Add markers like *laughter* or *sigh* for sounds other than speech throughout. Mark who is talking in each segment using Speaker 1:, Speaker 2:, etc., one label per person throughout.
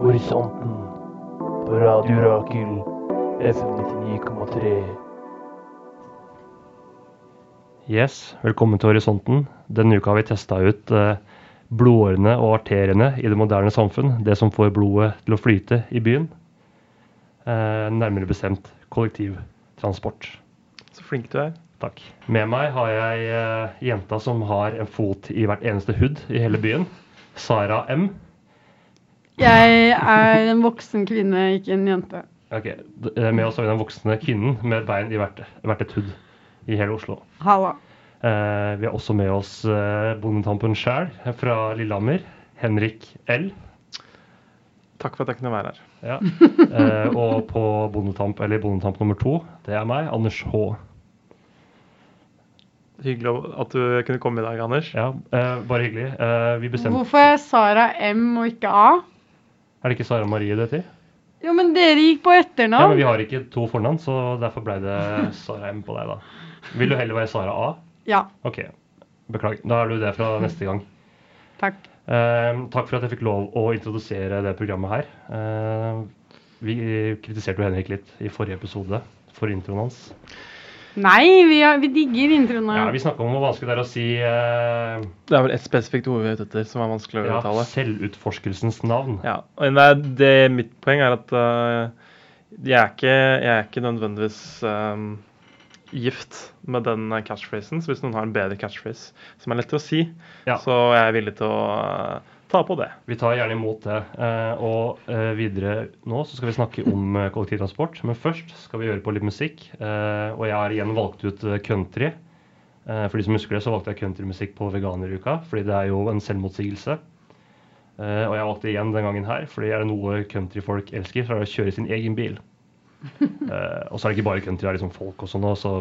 Speaker 1: Horisonten på Radio Rakel FM 99,3.
Speaker 2: Yes, velkommen til Horisonten. Denne uka har vi testa ut eh, blodårene og arteriene i det moderne samfunn. Det som får blodet til å flyte i byen. Eh, nærmere bestemt kollektivtransport.
Speaker 3: Så flink du er.
Speaker 2: Takk. Med meg har jeg eh, jenta som har en fot i hvert eneste hood i hele byen. Sara M.
Speaker 4: Jeg er en voksen kvinne, ikke en jente.
Speaker 2: Ok, d- eh, Med oss har vi den voksne kvinnen med et bein i hvert, hvert et hood i hele Oslo.
Speaker 4: Halla.
Speaker 2: Eh, vi har også med oss eh, bondetampen sjæl eh, fra Lillehammer, Henrik L.
Speaker 3: Takk for at jeg kunne være her.
Speaker 2: Ja. Eh, og på bondetamp, eller bondetamp nummer to, det er meg, Anders H.
Speaker 3: Hyggelig at du kunne komme i dag, Anders.
Speaker 2: Ja, eh, bare hyggelig. Eh, vi bestemte
Speaker 4: Hvorfor er Sara M og ikke A?
Speaker 2: Er det ikke Sara Marie det heter?
Speaker 4: Jo, men dere gikk på
Speaker 2: Ja, men
Speaker 4: etternavn.
Speaker 2: vi har ikke to fornavn, så derfor ble det Sara M på deg, da. Vil du heller være Sara A?
Speaker 4: Ja,
Speaker 2: OK. Beklager. Da er du det fra neste gang.
Speaker 4: takk.
Speaker 2: Eh, takk for at jeg fikk lov å introdusere det programmet her. Eh, vi kritiserte jo Henrik litt i forrige episode for introen hans.
Speaker 4: Nei, vi, har, vi digger introen.
Speaker 2: Ja,
Speaker 4: her.
Speaker 2: vi snakka om hvor vanskelig det er å si eh,
Speaker 3: Det er vel et spesifikt ord vi er ute etter som er vanskelig å
Speaker 2: ja,
Speaker 3: uttale.
Speaker 2: selvutforskelsens navn.
Speaker 3: Ja, og det, er- det Mitt poeng er at øh, jeg, er ikke, jeg er ikke nødvendigvis øhm, gift med den øh, catchphrasen. Så hvis noen har en bedre catchphrase som er lett å si,
Speaker 2: Ja.
Speaker 3: så er jeg villig til å øh, ta på det.
Speaker 2: Vi tar gjerne imot det. Eh, og eh, videre nå så skal vi snakke om eh, kollektivtransport. Men først skal vi gjøre på litt musikk. Eh, og jeg har igjen valgt ut eh, country. Eh, for de som husker det, så valgte jeg countrymusikk på veganeruka, fordi det er jo en selvmotsigelse. Eh, og jeg valgte igjen den gangen her, fordi er det noe countryfolk elsker, så er det å kjøre sin egen bil. Eh, og så er det ikke bare country, det er liksom folk og sånn også,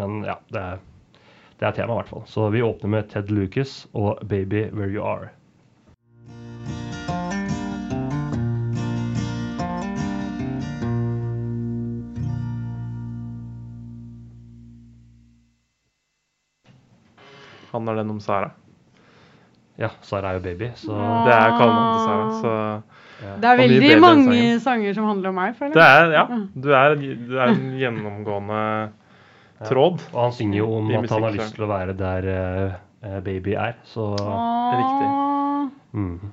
Speaker 2: men ja, det er, det er tema i hvert fall. Så vi åpner med Ted Lucas og 'Baby Where You Are'.
Speaker 3: Handler den om Sara?
Speaker 2: Ja, Sara er jo baby, så
Speaker 4: Ja.
Speaker 3: Det er kallenavnet til Sara. så...
Speaker 4: Det er
Speaker 3: Og mye
Speaker 4: veldig
Speaker 3: bedre enn
Speaker 4: mange sanger som handler om meg, føler
Speaker 3: Det
Speaker 4: jeg.
Speaker 3: er, ja, du er, du er en gjennomgående tråd.
Speaker 2: Og han synger jo om
Speaker 3: I
Speaker 2: at han har
Speaker 3: musikk,
Speaker 2: lyst til å være der eh, eh, baby er, så
Speaker 4: Åh.
Speaker 3: riktig.
Speaker 2: mm.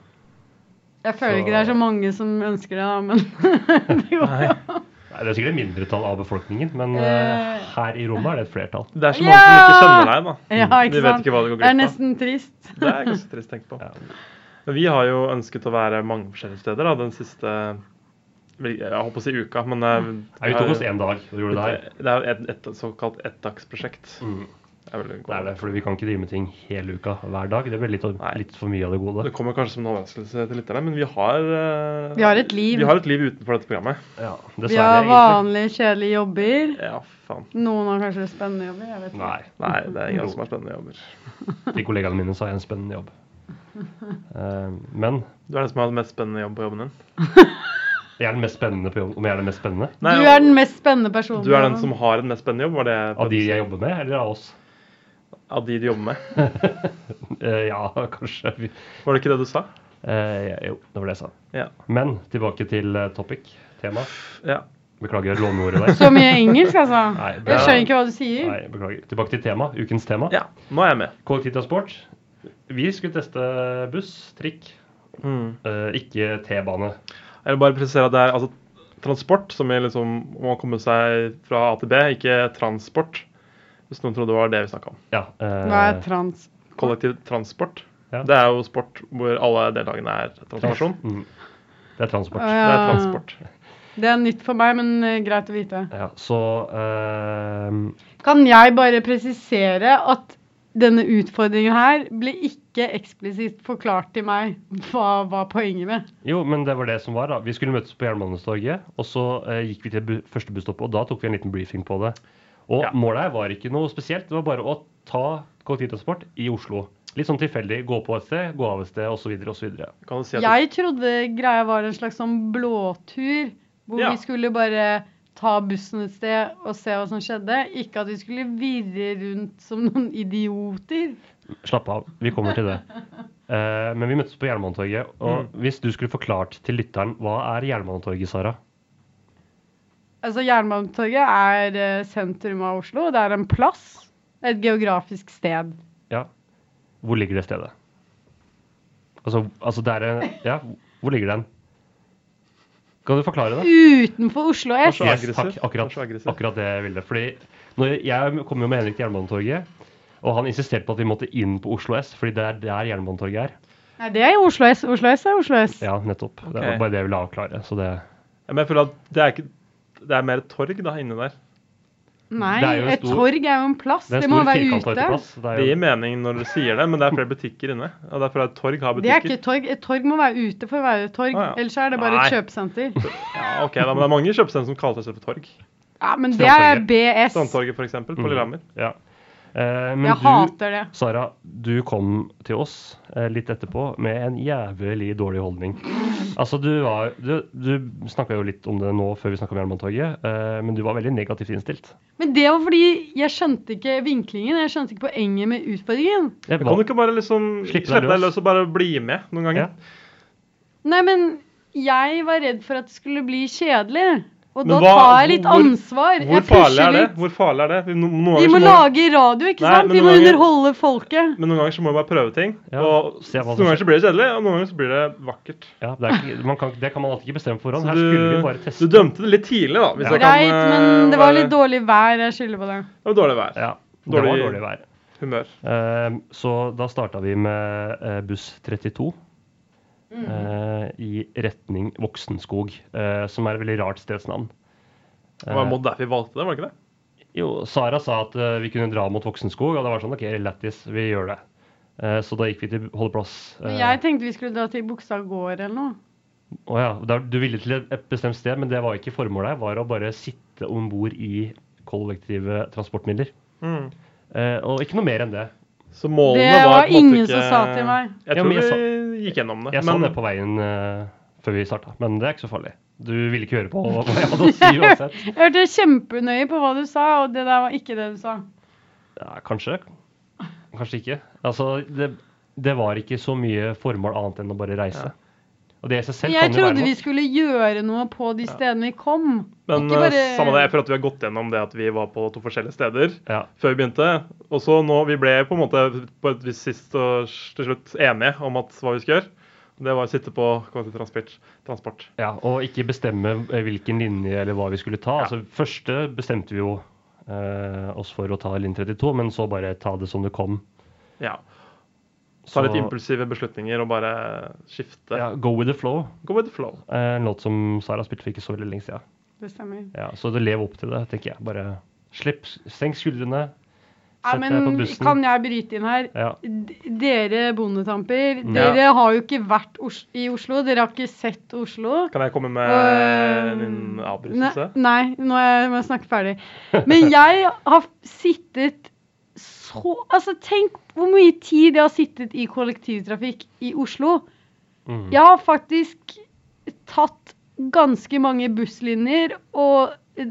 Speaker 4: Jeg føler
Speaker 2: Så-
Speaker 4: ikke det er så mange som ønsker det, da, men
Speaker 3: *laughs*
Speaker 4: det går
Speaker 2: Nei,
Speaker 4: jo.
Speaker 2: Det er sikkert et mindretall av befolkningen, men eh,
Speaker 4: Eh.
Speaker 2: her i rommet er det et flertall.
Speaker 3: Det er så mange som ikke kjenner deg, da.
Speaker 4: Ja,
Speaker 3: De
Speaker 4: ikke
Speaker 3: vet
Speaker 4: sant?
Speaker 3: ikke hva det går
Speaker 4: Det er
Speaker 3: glipp av.
Speaker 4: nesten trist.
Speaker 3: Det er ganske trist tenkt på.
Speaker 2: Ja.
Speaker 3: Men Vi har jo ønsket å være mange forskjellige steder da, den siste vel, Jeg holdt på å si uka, men eh,
Speaker 2: Jeg Mm. er ute hos én dag og gjorde det her.
Speaker 3: det er et, et såkalt ettdagsprosjekt.
Speaker 2: Mm.
Speaker 3: Det er vel-
Speaker 2: Det er det, fordi vi kan ikke drive med ting hele uka hver dag. Det blir litt,
Speaker 3: Nei.
Speaker 2: litt for mye av det gode.
Speaker 3: Det kommer kanskje som en overraskelse til lytterne, men vi har eh,
Speaker 4: Vi har et liv.
Speaker 3: Vi har et liv utenfor dette programmet.
Speaker 2: Ja,
Speaker 4: Vi
Speaker 2: dessverre.
Speaker 4: har
Speaker 2: egentlig.
Speaker 4: vanlige, kjedelige jobber.
Speaker 3: Ja, faen.
Speaker 4: Noen har kanskje spennende jobber. jeg vet ikke.
Speaker 2: Nei.
Speaker 3: Nei, det er ingen som har spennende jobber.
Speaker 2: Til kollegaene mine så har jeg en spennende jobb. Eh, men
Speaker 3: Du er den som har den mest spennende jobb på jobben din.
Speaker 2: jeg er den mest spennende på jobb. Om jeg er den mest spennende?
Speaker 3: Nei,
Speaker 4: du er den mest spennende personen.
Speaker 3: Du er den som har en mest spennende jobb, var det jeg
Speaker 2: Av de jeg jobber med, eller av oss? *laughs*
Speaker 3: av de du jobber med.
Speaker 2: Eh, ja, kanskje. Vi,
Speaker 3: Var det ikke det du sa?
Speaker 2: Eh, jo, det var det jeg sa.
Speaker 3: Ja.
Speaker 2: Men tilbake til eh, topic, tema.
Speaker 3: Ja.
Speaker 2: Beklager låneordet der.
Speaker 4: *laughs* Så mye engelsk, altså.
Speaker 2: Nei,
Speaker 4: Jeg skjønner
Speaker 2: beklager.
Speaker 4: ikke hva du sier.
Speaker 2: Nei, beklager. Tilbake til tema, ukens tema.
Speaker 3: ja. Nå er jeg med.
Speaker 2: Kollektivtransport. Vi skulle teste buss, trikk,
Speaker 3: Mm.
Speaker 2: eh, ikke T-bane.
Speaker 3: Jeg vil bare presisere at det er altså, transport som i liksom må komme seg fra A til B, ikke transport. Hvis noen trodde det var det vi snakka om.
Speaker 2: Ja, eh,
Speaker 4: Hva er trans...
Speaker 3: Kollektiv transport.
Speaker 2: Ja.
Speaker 3: Det er jo sport hvor alle deltakerne er transperson.
Speaker 2: Mm. Det er transport.
Speaker 4: Å,
Speaker 3: Det
Speaker 4: ja.
Speaker 3: er transport.
Speaker 4: Det er nytt for meg, men eh, greit å vite.
Speaker 2: Ja, så eh,
Speaker 4: Kan jeg bare presisere at denne utfordringen her ble ikke eksplisitt forklart til meg hva var poenget med.
Speaker 2: Jo, men det var det som var. da. Vi skulle møtes på Jernbanestorget, og så eh, gikk vi til bu første busstoppet, og da tok vi en liten briefing på det. Og
Speaker 3: Ja.
Speaker 2: målet her var ikke noe spesielt, det var bare å ta kollektivtransport i Oslo. Litt sånn tilfeldig. Gå på et sted, gå av et sted, osv., osv.
Speaker 3: Kan du si at
Speaker 4: Jeg trodde greia var en slags sånn blåtur, hvor
Speaker 3: Ja.
Speaker 4: vi skulle bare ta bussen et sted og se hva som skjedde. Ikke at vi skulle virre rundt som noen idioter.
Speaker 2: Slapp av, vi kommer til det. Eh, men vi møttes på Jernbanetorget. Og hvis du skulle forklart til lytteren hva er Jernbanetorget, Sara?
Speaker 4: Altså, Jernbanetorget er eh, sentrum av Oslo. Det er en plass. Et geografisk sted.
Speaker 2: Ja. Hvor ligger det stedet? Altså, altså det er en- Ja, hvor ligger den? Kan du forklare det?
Speaker 4: Utenfor Oslo S.
Speaker 3: Vær så
Speaker 2: Yes,
Speaker 3: aggressiv.
Speaker 2: takk. Akkurat,
Speaker 3: Vær så aggressiv.
Speaker 2: akkurat det jeg ville. Fordi når jeg kom jo med Henrik til Jernbanetorget, og han insisterte på at vi måtte inn på Oslo S, fordi det er der Jernbanetorget er.
Speaker 4: Nei, det er jo Oslo S. Oslo S er Oslo S.
Speaker 2: Ja, nettopp. Det
Speaker 3: Ok.
Speaker 2: var bare det jeg ville avklare. Så det,
Speaker 3: Ja, Men jeg føler at det er, ikke, det er mer et torg da, inne der.
Speaker 4: Nei,
Speaker 2: Det er jo en
Speaker 4: et
Speaker 2: stor-
Speaker 4: torg er jo en plass.
Speaker 2: det
Speaker 4: Det,
Speaker 2: er en
Speaker 4: må
Speaker 2: stor
Speaker 4: være
Speaker 2: firkanta
Speaker 4: ute.
Speaker 2: uteplass. Det er jo
Speaker 3: Det gir mening når du sier det, men det er flere butikker inne. Og derfor er et torg har
Speaker 4: Det er
Speaker 3: butikker.
Speaker 4: ikke et torg. Et torg må være ute for å være et torg.
Speaker 3: Ah, ja.
Speaker 4: Ellers er det bare et
Speaker 2: *laughs*
Speaker 3: Nei.
Speaker 4: kjøpesenter.
Speaker 3: Ja, ok, da, men det er mange kjøpesenter som kaller seg selv for torg.
Speaker 4: Ja, men det er
Speaker 2: Strandtorget.
Speaker 4: BS.
Speaker 3: Strandtorget, f.eks., på
Speaker 2: Mm.
Speaker 3: Lillehammer.
Speaker 2: ja. Eh, men
Speaker 4: Jeg
Speaker 2: du,
Speaker 4: hater det.
Speaker 2: Sara, du kom til oss eh, litt etterpå med en jævlig dårlig holdning. Altså, du var Du, du snakka jo litt om det nå før vi snakka om Jernbanetorget, eh, men du var veldig negativt innstilt.
Speaker 4: Men det var fordi jeg skjønte ikke vinklingen. Jeg skjønte ikke poenget med utfordringen.
Speaker 2: Jeg
Speaker 3: Kan du
Speaker 2: var,
Speaker 3: ikke bare liksom
Speaker 2: Slippe deg
Speaker 3: slippe deg
Speaker 2: løs.
Speaker 3: løs og bare bli med noen ganger?
Speaker 2: Ja.
Speaker 4: Nei, men jeg var redd for at det skulle bli kjedelig. Og
Speaker 3: Men
Speaker 4: da
Speaker 3: hva-
Speaker 4: tar jeg litt
Speaker 3: hvor-
Speaker 4: ansvar.
Speaker 3: Hvor
Speaker 4: jeg
Speaker 3: farlig er
Speaker 4: pusher
Speaker 3: det?
Speaker 4: litt.
Speaker 3: Hvor farlig er det? Vi, no, noen
Speaker 4: Vi
Speaker 3: ganger
Speaker 4: må
Speaker 3: så
Speaker 4: lage radio, ikke
Speaker 3: Nei,
Speaker 4: sant?
Speaker 3: men
Speaker 4: Vi må
Speaker 3: noen ganger-
Speaker 4: underholde folket.
Speaker 3: men noen ganger så må vi bare prøve ting.
Speaker 2: Ja,
Speaker 3: Og
Speaker 2: se hva som
Speaker 3: Noen ganger så blir det kjedelig, og noen ganger så blir det vakkert.
Speaker 2: ja, det, er ikke, man kan, det kan man alltid ikke bestemme på forhånd.
Speaker 3: Så
Speaker 2: Her skulle vi bare
Speaker 3: du,
Speaker 2: teste.
Speaker 3: du dømte det litt tidlig, da. Hvis
Speaker 2: Ja.
Speaker 3: jeg kan,
Speaker 4: Greit,
Speaker 3: eh,
Speaker 4: men det var
Speaker 3: være-
Speaker 4: litt dårlig vær. Jeg skylder på det.
Speaker 3: Det var dårlig vær.
Speaker 2: Ja, det
Speaker 3: Dårlig-
Speaker 2: var dårlig vær.
Speaker 3: Humør.
Speaker 2: Eh, så da starta vi med eh, buss 32
Speaker 4: Mm.
Speaker 2: eh, i retning Voksenskog, eh, som er et veldig rart stedsnavn. Eh,
Speaker 3: Det var Mod derfor vi valgte det, var det ikke det?
Speaker 2: Jo, Sara sa at eh, vi kunne dra mot Voksenskog, og det var sånn OK, lættis, vi gjør det. Eh, så da gikk vi til holdeplass.
Speaker 4: Men
Speaker 2: eh,
Speaker 4: jeg tenkte vi skulle dra til Bogstad gård eller noe.
Speaker 2: å ja, da- du ville til et bestemt sted, men det var ikke formålet. Det var å bare sitte om bord i kollektive transportmidler.
Speaker 3: Mm.
Speaker 2: Eh, og ikke noe mer enn det.
Speaker 3: Så målene
Speaker 4: Det var
Speaker 3: var på en måte
Speaker 4: ingen
Speaker 3: ikke...
Speaker 4: som sa til meg.
Speaker 3: Jeg
Speaker 2: Ja,
Speaker 3: tror
Speaker 2: men jeg
Speaker 3: vi gikk gjennom det.
Speaker 2: Jeg sa det på veien eh, før vi starta, men det er ikke så farlig. Du ville ikke høre på hva jeg hadde å si uansett.
Speaker 4: Jeg hørte kjempenøye på hva du sa, og det der var ikke det du sa.
Speaker 2: Ja, kanskje. Kanskje ikke. Altså, det, det var ikke så mye formål annet enn å bare reise. Og det i seg
Speaker 4: Men
Speaker 2: selv
Speaker 4: Jeg
Speaker 2: kan jo
Speaker 4: trodde
Speaker 2: være
Speaker 4: vi
Speaker 2: noe.
Speaker 4: skulle gjøre noe på de stedene vi kom.
Speaker 3: men
Speaker 4: Ikke bare-
Speaker 3: eh, samme det, jeg føler at vi har gått gjennom det at vi var på to forskjellige steder
Speaker 2: Ja.
Speaker 3: før vi begynte. Og så nå, vi ble på en måte på et vis sist og s- til slutt enige om at hva vi skulle gjøre. Det var å sitte på kollektivtransport. Transport.
Speaker 2: ja, Og ikke bestemme eh, hvilken linje eller hva vi skulle ta. Altså, første bestemte vi jo eh, oss for å ta linje 32, men så bare ta det som det kom.
Speaker 3: Ja. Ta litt
Speaker 2: Så-
Speaker 3: impulsive beslutninger og bare skifte.
Speaker 2: Ja, Go with the flow.
Speaker 3: Go with the flow.
Speaker 2: eh, En låt som Sara spilte for ikke så veldig lenge siden.
Speaker 4: Det stemmer.
Speaker 2: Ja, så det lever opp til det, tenker jeg. Bare slipp, senk skuldrene.
Speaker 4: Nei,
Speaker 2: Sett deg på
Speaker 4: men
Speaker 2: bussen.
Speaker 4: kan jeg bryte inn her?
Speaker 2: Ja.
Speaker 4: D- Dere bondetamper,
Speaker 3: Mm. Ja.
Speaker 4: dere har jo ikke vært Os i Oslo. Dere har ikke sett Oslo.
Speaker 3: Kan jeg komme
Speaker 4: Øh,
Speaker 3: med en Eh, avbrytelse?
Speaker 4: Nei, nei, nå er jeg- må jeg snakke ferdig.
Speaker 3: *laughs*
Speaker 4: Men jeg har sittet så Altså, tenk hvor mye tid jeg har sittet i kollektivtrafikk i Oslo.
Speaker 2: Mhm.
Speaker 4: Jeg har faktisk tatt ganske mange busslinjer og eh,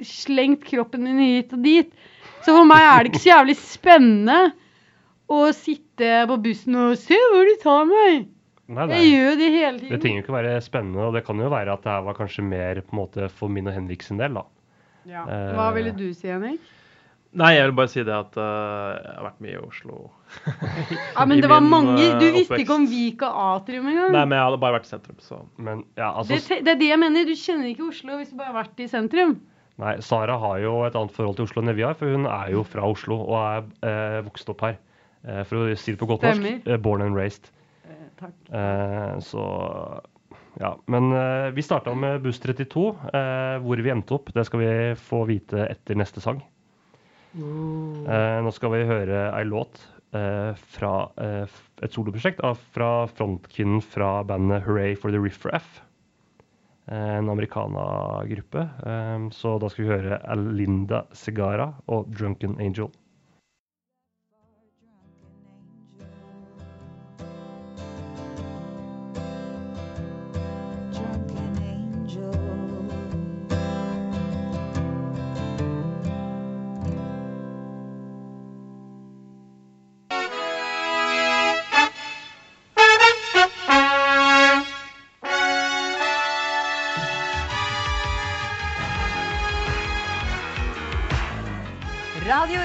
Speaker 4: slengt kroppen min hit og dit. Så for meg er det ikke så jævlig spennende å sitte på bussen og se hvor de tar meg.
Speaker 2: Nei,
Speaker 4: Jeg
Speaker 2: nei.
Speaker 4: gjør jo det hele tiden.
Speaker 2: Det trenger jo ikke være spennende, og det kan jo være at det her var kanskje mer på en måte for min og Henrik sin del, da.
Speaker 4: Ja.
Speaker 2: Eh,
Speaker 4: Hva ville du si, Henrik?
Speaker 3: Nei, jeg vil bare si det at øh, jeg har vært mye i Oslo.
Speaker 4: Ja, men
Speaker 3: i
Speaker 4: det var
Speaker 3: min,
Speaker 4: mange Du
Speaker 3: eh,
Speaker 4: visste ikke om
Speaker 3: oppvekst.
Speaker 4: Vik og Atrium engang.
Speaker 3: Nei, men jeg hadde bare vært i sentrum, så
Speaker 2: Men ja, altså
Speaker 4: det, te- det er det jeg mener. Du kjenner ikke Oslo hvis du bare har vært i sentrum.
Speaker 2: Nei, Sara har jo et annet forhold til Oslo enn det vi har, for hun er jo fra Oslo og er eh, vokst opp her. Eh, for å si det på godt norsk
Speaker 4: Stemmer.
Speaker 2: eh, born and raised.
Speaker 4: takk.
Speaker 2: Eh, så ja. Men eh, vi starta med buss 32. Eh, hvor vi endte opp, det skal vi få vite etter neste sang.
Speaker 4: Oh.
Speaker 2: Eh, nå skal vi høre ei låt eh, fra eh, f- et soloprosjekt av, fra frontkvinnen fra bandet Hooray for the Riff Raff. Eh, en americana-gruppe. Eh, så da skal vi høre Alinda Segara og Drunken Angel.
Speaker 5: Drunken angel,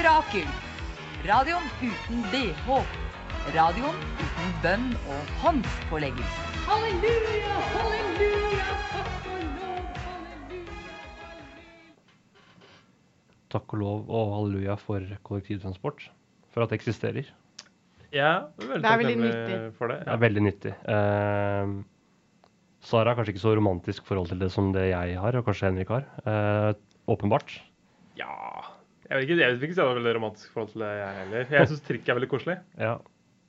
Speaker 5: Rakel. Radioen uten BH. Radioen uten bønn og håndspåleggelse.
Speaker 4: Halleluja, halleluja, takk
Speaker 2: Takk
Speaker 4: og lov, halleluja.
Speaker 2: og lov og halleluja for kollektivtransport. For at det eksisterer.
Speaker 3: Jeg er veldig
Speaker 4: Det er veldig
Speaker 3: takknemlig
Speaker 4: nyttig.
Speaker 3: for det.
Speaker 2: Det er veldig nyttig. Eh, Sara har kanskje ikke så romantisk forhold til det som det jeg har, og kanskje Henrik har. Eh, åpenbart.
Speaker 3: Ja Jeg vil ikke, jeg vil ikke si det var veldig romantisk forhold til det, jeg heller. Jeg syns trikk er veldig koselig.
Speaker 2: Ja.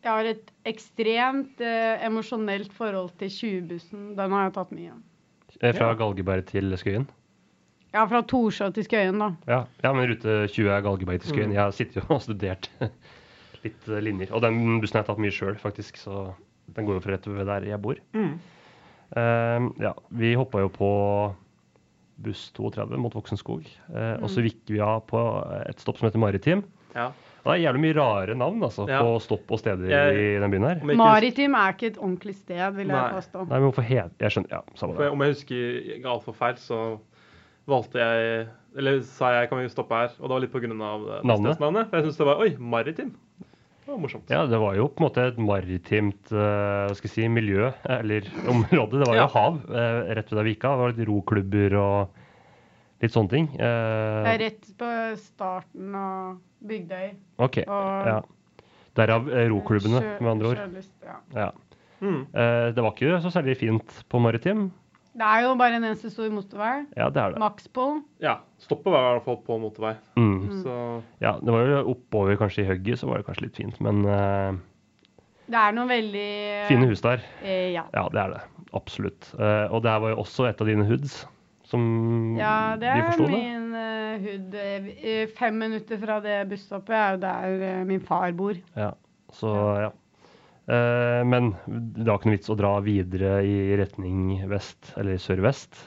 Speaker 4: Jeg har et ekstremt eh, emosjonelt forhold til 20-bussen. Den har jeg tatt mye av.
Speaker 2: Eh, Fra
Speaker 3: Ja.
Speaker 2: Galgeberg til Skøyen.
Speaker 4: Ja, fra Torsjå til Skøyen, da.
Speaker 2: Ja, ja men rute 20 er Galgeberg til
Speaker 3: Mm.
Speaker 2: Skøyen. Jeg har sittet og *laughs* studert litt eh, linjer. Og den bussen har jeg tatt mye sjøl, faktisk. Så den går jo fra rett ved der jeg bor.
Speaker 3: Mm.
Speaker 2: Eh, ja, vi hoppa jo på buss 32 mot Voksenskog. Eh, Og så gikk vi av på et stopp som heter Maritim.
Speaker 3: Mm. Ja.
Speaker 2: Det er jævlig mye rare navn altså,
Speaker 3: Ja.
Speaker 2: på stopp og steder i
Speaker 3: Jeg-
Speaker 2: den byen her.
Speaker 3: Om jeg ikke husker,
Speaker 4: Maritim er ikke et ordentlig sted, vil
Speaker 3: Nei.
Speaker 4: jeg påstå.
Speaker 2: Nei, men hvorfor het Jeg skjønner. Ja, samme
Speaker 3: for
Speaker 2: det.
Speaker 3: jeg- om jeg husker altfor feil, så valgte jeg Eller sa jeg kan vi stoppe her? Og det var litt på grunn av det
Speaker 2: Navnet?
Speaker 3: stedsnavnet. For jeg syns det var Oi, maritim. Det var morsomt.
Speaker 2: Ja, det var jo på en måte et maritimt eh, hva skal jeg si, miljø, eller område. Det var jo
Speaker 3: Ja.
Speaker 2: hav eh, rett ved der vi gikk av. Det var litt roklubber og litt sånne ting. Eh,
Speaker 4: Det er rett på starten av Bygdøy.
Speaker 2: OK. Ja. Derav eh, roklubbene,
Speaker 4: Sjø-
Speaker 2: med andre ord.
Speaker 4: sjølyst, ja.
Speaker 2: Ja.
Speaker 3: Mm.
Speaker 2: Eh, det var ikke så særlig fint på maritim.
Speaker 4: Det er jo bare en eneste stor motorvei.
Speaker 2: Ja, det er det.
Speaker 4: Maxpol.
Speaker 3: ja. Stoppet var i hvert fall på motorvei.
Speaker 2: Mm.
Speaker 3: Så
Speaker 2: Ja, det var jo oppover kanskje i hugget, så var det kanskje litt fint, men eh,
Speaker 4: Det er noen veldig
Speaker 2: fine hus der.
Speaker 4: Eh, ja.
Speaker 2: Ja, det er det. Absolutt. Eh, og det her var jo også et av dine hoods, som
Speaker 4: ja, det
Speaker 2: vi
Speaker 4: er
Speaker 2: forsto det.
Speaker 4: min eh, hud. Eh, Fem minutter fra det busstoppet er jo der eh, min far bor.
Speaker 2: Ja. Så ja. Eh, men det var ikke noe vits å dra videre i retning vest, eller sør-vest.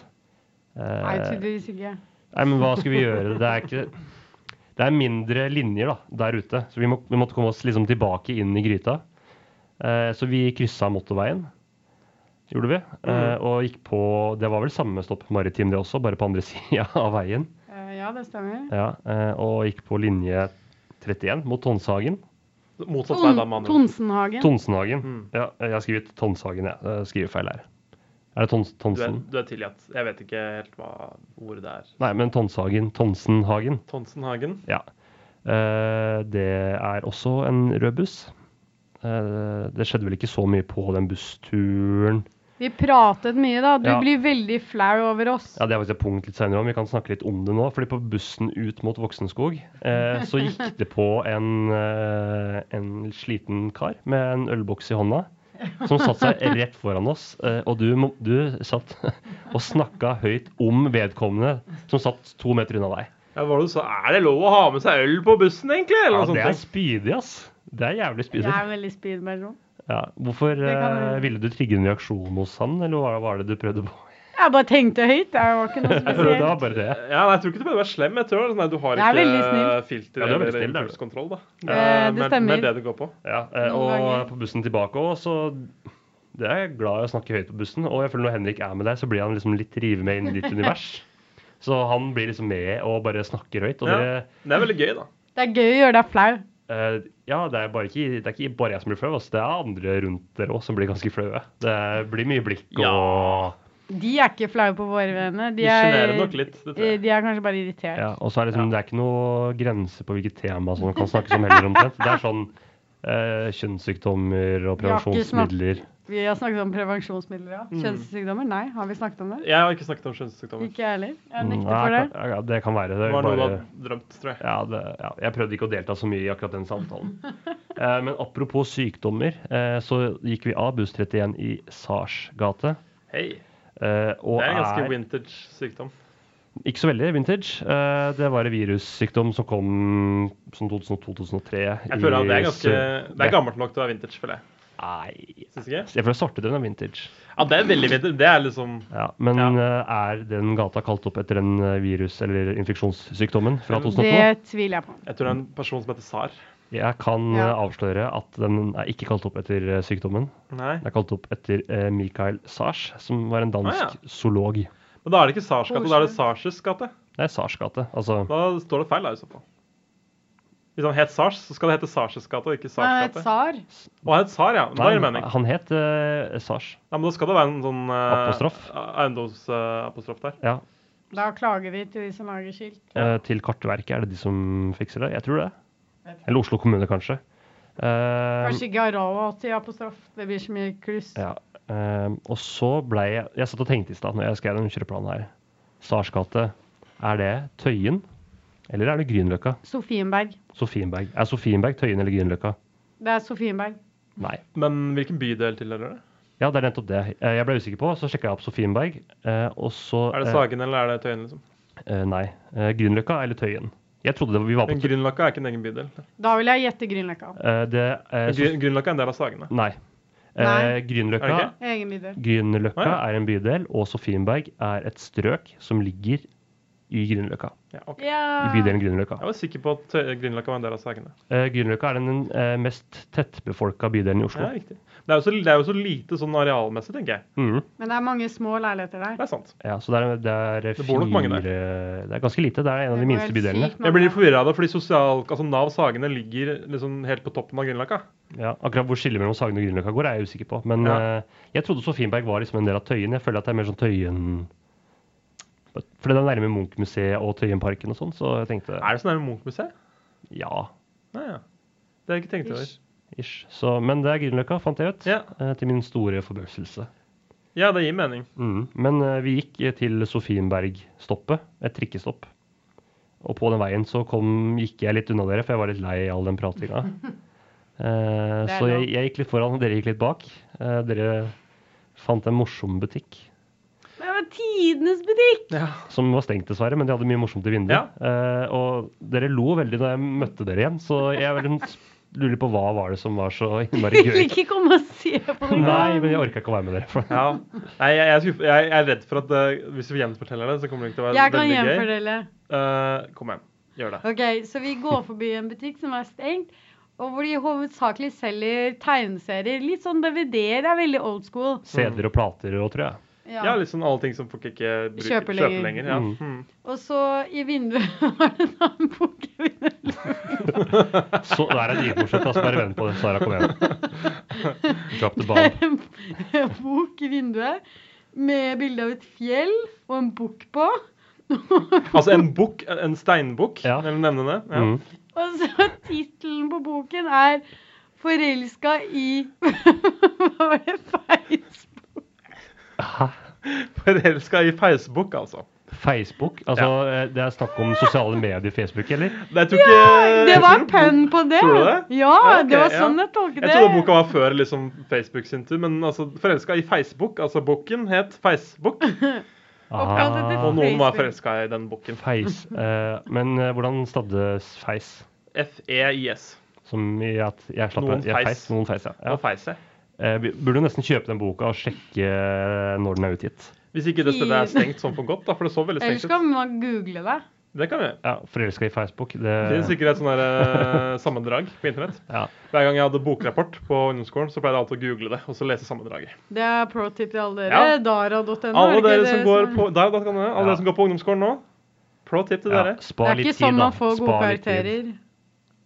Speaker 2: Eh,
Speaker 4: Nei, tydeligvis ikke.
Speaker 2: nei, men hva skal vi gjøre? Det er ikke Det er mindre linjer da, der ute, så vi, må, vi måtte komme oss liksom tilbake inn i gryta. Eh, så vi kryssa motorveien, gjorde vi,
Speaker 4: Mm.
Speaker 2: eh, og gikk på Det var vel samme stopp maritim, det også, bare på andre *laughs* sida av veien.
Speaker 4: Eh, ja, det stemmer.
Speaker 2: Ja, eh, og gikk på linje 31 mot Tonshagen.
Speaker 3: motsatt vei, da,
Speaker 4: Ton
Speaker 3: med andre ord.
Speaker 4: Tonsenhagen.
Speaker 2: Tonsenhagen.
Speaker 3: Mm.
Speaker 2: Ja, jeg har skrevet Tonshagen, jeg. jeg. Skriver feil her. Er det Tons
Speaker 3: Du er,
Speaker 2: Tonsen?
Speaker 3: du er tilgitt. Jeg vet ikke helt hva ordet det er.
Speaker 2: Nei, men Tonshagen. Tonsenhagen.
Speaker 3: Tonsenhagen.
Speaker 2: Ja. Eh, det er også en rød buss. Eh, det skjedde vel ikke så mye på den bussturen.
Speaker 4: Vi pratet mye, da. Du
Speaker 2: Ja.
Speaker 4: blir veldig flau over oss.
Speaker 2: Ja, Det er faktisk et punkt litt senere om. Vi kan snakke litt om det nå. fordi på bussen ut mot Voksenskog eh, så gikk det på en, eh, en sliten kar med en ølboks i hånda. Som satte seg rett foran oss. Eh, og du, må- du satt *laughs* og snakka høyt om vedkommende som satt to meter unna deg.
Speaker 3: Ja, hva var det du sa? Er det lov å ha med seg øl på bussen, egentlig? Eller
Speaker 2: Ja,
Speaker 3: noe sånt.
Speaker 2: det er speedy, ass. Det er jævlig
Speaker 4: Jeg
Speaker 2: speedy.
Speaker 4: er veldig speed mellom.
Speaker 2: Ja. Hvorfor
Speaker 4: kan-
Speaker 2: eh, ville du trigge en reaksjon hos han, eller hva var det du prøvde på?
Speaker 4: Jeg bare tenkte høyt. Det var ikke
Speaker 2: *laughs*
Speaker 4: noe
Speaker 2: Det var
Speaker 4: spesielt.
Speaker 2: bare det.
Speaker 3: Ja, nei, jeg tror ikke du behøver å være slem. Jeg tror det er sånn at du har
Speaker 4: Jeg er veldig
Speaker 3: ikke eh,
Speaker 4: snill.
Speaker 3: filter
Speaker 2: Ja, du er veldig
Speaker 3: eller
Speaker 2: snill, det er du.
Speaker 3: impulskontroll. da.
Speaker 4: Eh, det
Speaker 3: mer-
Speaker 4: stemmer.
Speaker 3: Mer det det går på.
Speaker 2: Ja, eh,
Speaker 4: Noen
Speaker 2: og
Speaker 4: ganger.
Speaker 2: på bussen tilbake òg, så det er jeg glad i å snakke høyt på bussen. Og jeg føler når Henrik er med deg, så blir han liksom litt revet med inn
Speaker 4: *laughs*
Speaker 2: i ditt univers. Så han blir liksom med og bare snakker høyt. Og
Speaker 3: Ja.
Speaker 2: dere
Speaker 3: Det er veldig gøy, da.
Speaker 4: Det er gøy å gjøre deg flau.
Speaker 2: eh, Ja, det er, bare ikke, det er ikke bare jeg som blir flau, altså. det er andre rundt dere òg som blir ganske flaue. Det blir mye blikk og
Speaker 3: Ja.
Speaker 4: De er ikke flaue på våre vegne.
Speaker 3: De
Speaker 4: De er,
Speaker 3: sjenerer nok litt. det tror
Speaker 4: eh,
Speaker 3: jeg.
Speaker 4: de er kanskje bare irritert.
Speaker 2: Ja, og så er det liksom, det er ikke noe grense på hvilket tema som kan snakkes om heller omtrent. Det er sånn eh, kjønnssykdommer og
Speaker 4: Vi har ikke snakket-
Speaker 2: prevensjonsmidler.
Speaker 4: Vi har snakket om prevensjonsmidler, ja. Kjønnssykdommer? Nei, har vi snakket om det?
Speaker 3: Jeg har ikke snakket om kjønnssykdommer.
Speaker 4: Ikke jeg heller. Jeg
Speaker 2: Mm,
Speaker 4: nekter
Speaker 2: ja,
Speaker 4: for det.
Speaker 2: kan- Ja, det kan være. Det
Speaker 3: Det
Speaker 2: er
Speaker 3: var noe du
Speaker 2: bare,
Speaker 3: hadde drømt, tror jeg.
Speaker 2: ja, det, ja, jeg prøvde ikke å delta så mye i akkurat den
Speaker 3: *laughs*
Speaker 2: samtalen. Eh, men apropos sykdommer, eh, så gikk vi av buss 31 i Sars gate.
Speaker 3: Hei.
Speaker 2: Eh, og
Speaker 3: Det er en ganske
Speaker 2: er
Speaker 3: vintage sykdom.
Speaker 2: ikke så veldig vintage. Eh, det var en virussykdom som kom sånn 2002-2003.
Speaker 3: Jeg føler at Det er ganske, det er gammelt nok til å være vintage, føler jeg.
Speaker 2: Nei
Speaker 3: Synes ikke?
Speaker 2: Jeg føler svartedauden er vintage.
Speaker 3: Ja, det er veldig vintage. Det er liksom
Speaker 2: Ja, men
Speaker 3: Ja.
Speaker 2: eh, er den gata kalt opp etter en eh, virus- eller infeksjonssykdommen fra 2002?
Speaker 4: Det tviler jeg på.
Speaker 3: Jeg tror det er en person som heter Sar.
Speaker 2: Jeg kan eh,
Speaker 4: Ja.
Speaker 2: avsløre at den er ikke kalt opp etter eh, sykdommen.
Speaker 3: Nei.
Speaker 2: Den er kalt opp etter eh, Mikael Sars, som var en dansk
Speaker 3: Ah, ja.
Speaker 2: zoolog.
Speaker 3: Men da er det ikke Sars gate, da er det Sarses gate.
Speaker 2: Det er Sars gate. Altså,
Speaker 3: Da står det feil, da, i så fall. Hvis han het Sars, så skal det hete Sarses gate og ikke
Speaker 4: Nei, han het
Speaker 3: Sarsgate.
Speaker 4: Sar.
Speaker 3: Og han het Sar, ja. Men da
Speaker 2: Nei,
Speaker 3: gir det mening.
Speaker 2: han het eh, Sars.
Speaker 3: Ja, men da skal det være en sånn eh,
Speaker 2: Apostrof.
Speaker 3: Eiendomsapostrof der.
Speaker 2: Ja.
Speaker 4: Da klager vi til de som lager skilt.
Speaker 2: Eh, til Kartverket, er det de som fikser det? Jeg tror det. Eller Oslo kommune, kanskje. Eh,
Speaker 4: Kanskje ikke Arala til apostrof. Det blir så mye kluss.
Speaker 2: Ja. ehm, og så ble jeg Jeg satt og tenkte i stad når jeg skrev den kjøreplanen her. Sars gate, er det Tøyen? Eller er det Grünerløkka?
Speaker 4: Sofienberg.
Speaker 2: Sofienberg. Er Sofienberg Tøyen eller Grünerløkka?
Speaker 4: Det er Sofienberg.
Speaker 2: Nei.
Speaker 3: Men hvilken bydel tilhører det?
Speaker 2: Ja, det er nettopp det. Eh, Jeg ble usikker på, så sjekka jeg opp Sofienberg. eh, og så
Speaker 3: Er det Sagen eller er det Tøyen? liksom?
Speaker 2: Eh, eh, nei. Eh, Grünerløkka eller Tøyen? Jeg trodde det var, vi var på
Speaker 3: Men Grünerløkka er ikke en egen bydel.
Speaker 4: Da vil jeg gjette Grünerløkka.
Speaker 2: eh, det, eh,
Speaker 3: Men
Speaker 2: så,
Speaker 3: Gry- Grünerløkka er en del av Sagene.
Speaker 2: Nei.
Speaker 4: Nei.
Speaker 2: Eh, Grünerløkka
Speaker 3: Er det
Speaker 4: Egen bydel.
Speaker 2: Grünerløkka
Speaker 3: Ah,
Speaker 2: er en bydel, og Sofienberg er et strøk som ligger i Grünerløkka.
Speaker 3: Ja, ok.
Speaker 2: I
Speaker 4: Ja.
Speaker 2: bydelen Grünerløkka.
Speaker 3: Jeg var sikker på at Tøy- Grünerløkka var en del av Sagene.
Speaker 2: Eh, Grünerløkka er den eh, mest tettbefolka bydelen i Oslo.
Speaker 3: Ja, riktig. Det er jo så, det er jo så lite sånn arealmessig, tenker jeg.
Speaker 2: Mhm.
Speaker 4: Men det er mange små leiligheter der.
Speaker 3: Det er sant.
Speaker 2: ja, så det er, det er
Speaker 3: Det bor nok mange der.
Speaker 2: fire- Det er ganske lite. Det er en av de
Speaker 4: Det bor
Speaker 2: minste
Speaker 4: helt
Speaker 2: bydelene.
Speaker 4: sykt mange
Speaker 3: Jeg blir litt
Speaker 4: der.
Speaker 3: forvirra av det, fordi sosial, altså Nav Sagene ligger liksom helt på toppen av Grünerløkka.
Speaker 2: Ja, akkurat hvor skillet mellom Sagen og Grünerløkka går, er jeg usikker på. Men
Speaker 3: Ja.
Speaker 2: eh, jeg trodde Sofienberg var liksom en del av Tøyen. Jeg føler at det er mer sånn Tøyen Fordi det er nærme Munchmuseet og Tøyenparken og sånn, så jeg tenkte
Speaker 3: Er det så nærme Munch-museet?
Speaker 2: ja,
Speaker 3: Nei, ja. Det har jeg ikke tenkt over.
Speaker 4: Ish.
Speaker 2: ish. Så, men det er Grünerløkka, fant jeg ut.
Speaker 3: Ja.
Speaker 2: eh, til min store forbauselse.
Speaker 3: Ja, det gir mening.
Speaker 2: Mhm. Men eh, vi gikk eh, til Sofienberg-stoppet, et trikkestopp. Og på den veien så kom, gikk jeg litt unna dere, for jeg var litt lei av all den
Speaker 4: *laughs*
Speaker 2: pratinga. Eh,
Speaker 4: Det er
Speaker 2: så jeg,
Speaker 4: lov.
Speaker 2: jeg gikk litt foran, og dere gikk litt bak. Eh, dere fant en morsom butikk,
Speaker 4: Men Det var tidenes butikk!
Speaker 2: som var stengt dessverre, men de hadde mye morsomt i vinduet. Eh, og dere lo veldig da jeg møtte dere igjen, så jeg veldig lurer på hva var det som var så innmari
Speaker 4: Vil
Speaker 2: gøy.
Speaker 4: *laughs* ikke komme og se på noe.
Speaker 2: Nei, men jeg orka ikke å være med dere. For
Speaker 3: Ja. Nei, jeg, jeg, er skuff- jeg, jeg er redd for at eh, hvis vi gjenforteller det, så kommer det ikke til å være
Speaker 4: Jeg kan
Speaker 3: veldig gøy.
Speaker 4: gjenfordele.
Speaker 3: Eh, kom igjen. Gjør det.
Speaker 4: Ok, så vi går forbi en butikk som er stengt, og hvor de hovedsakelig selger tegneserier. Litt sånn DVD-er. Det er veldig old school.
Speaker 2: CD-er og plater og tror jeg.
Speaker 3: Ja, litt sånn alle ting som folk ikke bruker,
Speaker 4: Kjøper
Speaker 3: kjøper
Speaker 4: lenger.
Speaker 3: lenger. ja.
Speaker 2: Mm.
Speaker 3: Mm.
Speaker 4: Og så i vinduet *laughs* var det en annen bok.
Speaker 2: Så det er dritmorsomt. La oss være venn på det. Sara, kom igjen. Drop the
Speaker 4: Det
Speaker 2: bomb.
Speaker 4: er en *laughs* en bok i vinduet med bilde av et fjell og en bukk på. *laughs*
Speaker 3: Altså en bukk, en steinbukk,
Speaker 2: Ja.
Speaker 3: eller nevne det. Ja.
Speaker 2: Mm.
Speaker 4: Og så tittelen på boken er 'Forelska i *laughs* Hva var det? Facebook?
Speaker 3: Forelska i feisbukk, altså.
Speaker 2: Facebook? Altså, eh, Det er snakk om sosiale medier, Facebook, eller?
Speaker 3: Det, jeg tror ikke,
Speaker 4: Det
Speaker 3: jeg
Speaker 4: var
Speaker 3: Eh, tror
Speaker 4: en pønn på det.
Speaker 3: Tror du
Speaker 4: Ja,
Speaker 3: det? Ja, ok,
Speaker 4: det var
Speaker 3: ja.
Speaker 4: sånn jeg tolket det.
Speaker 3: Jeg trodde boka var før liksom, Facebook sin tur, men altså, forelska i Facebook. Altså boken het Facebook,
Speaker 4: Oppkalt etter
Speaker 2: Ah,
Speaker 3: og noen var
Speaker 4: Facebook.
Speaker 3: forelska i den boken.
Speaker 2: Feis. Eh, men eh, hvordan staddes feis?
Speaker 3: E F-E-I-S.
Speaker 2: Som i at jeg slapp
Speaker 3: Noen
Speaker 2: jeg
Speaker 3: feis.
Speaker 2: feis. Noen feis, ja.
Speaker 3: Ja.
Speaker 2: ja. Eh, vi burde jo nesten kjøpe den boka og sjekke eh, når den er utgitt.
Speaker 3: Hvis ikke det stedet er stengt sånn for godt, da, for det så veldig
Speaker 4: Ellers
Speaker 3: stengt
Speaker 4: kan
Speaker 3: ut.
Speaker 4: man google det.
Speaker 3: Det kan vi gjøre.
Speaker 2: Ja, Forelska i Facebook. Det,
Speaker 3: Det finnes sikkert et sånn der, eh, sammendrag på internett.
Speaker 2: ja.
Speaker 3: Hver gang jeg hadde bokrapport på ungdomsskolen, så pleide jeg alltid å google det og så lese sammendraget.
Speaker 4: Det er pro tip til alle dere.
Speaker 3: Ja.
Speaker 4: Dara.no. er
Speaker 3: Alle
Speaker 4: det ikke
Speaker 3: dere
Speaker 4: det
Speaker 3: som går på, der, da kan dere,
Speaker 2: Ja.
Speaker 3: alle dere som går på ungdomsskolen nå, pro tip til
Speaker 2: ja.
Speaker 3: dere.
Speaker 4: Det
Speaker 2: Spar
Speaker 4: er ikke
Speaker 2: litt
Speaker 4: sånn
Speaker 2: tid, da.
Speaker 4: man får gode
Speaker 2: Spar litt tid.
Speaker 4: karakterer.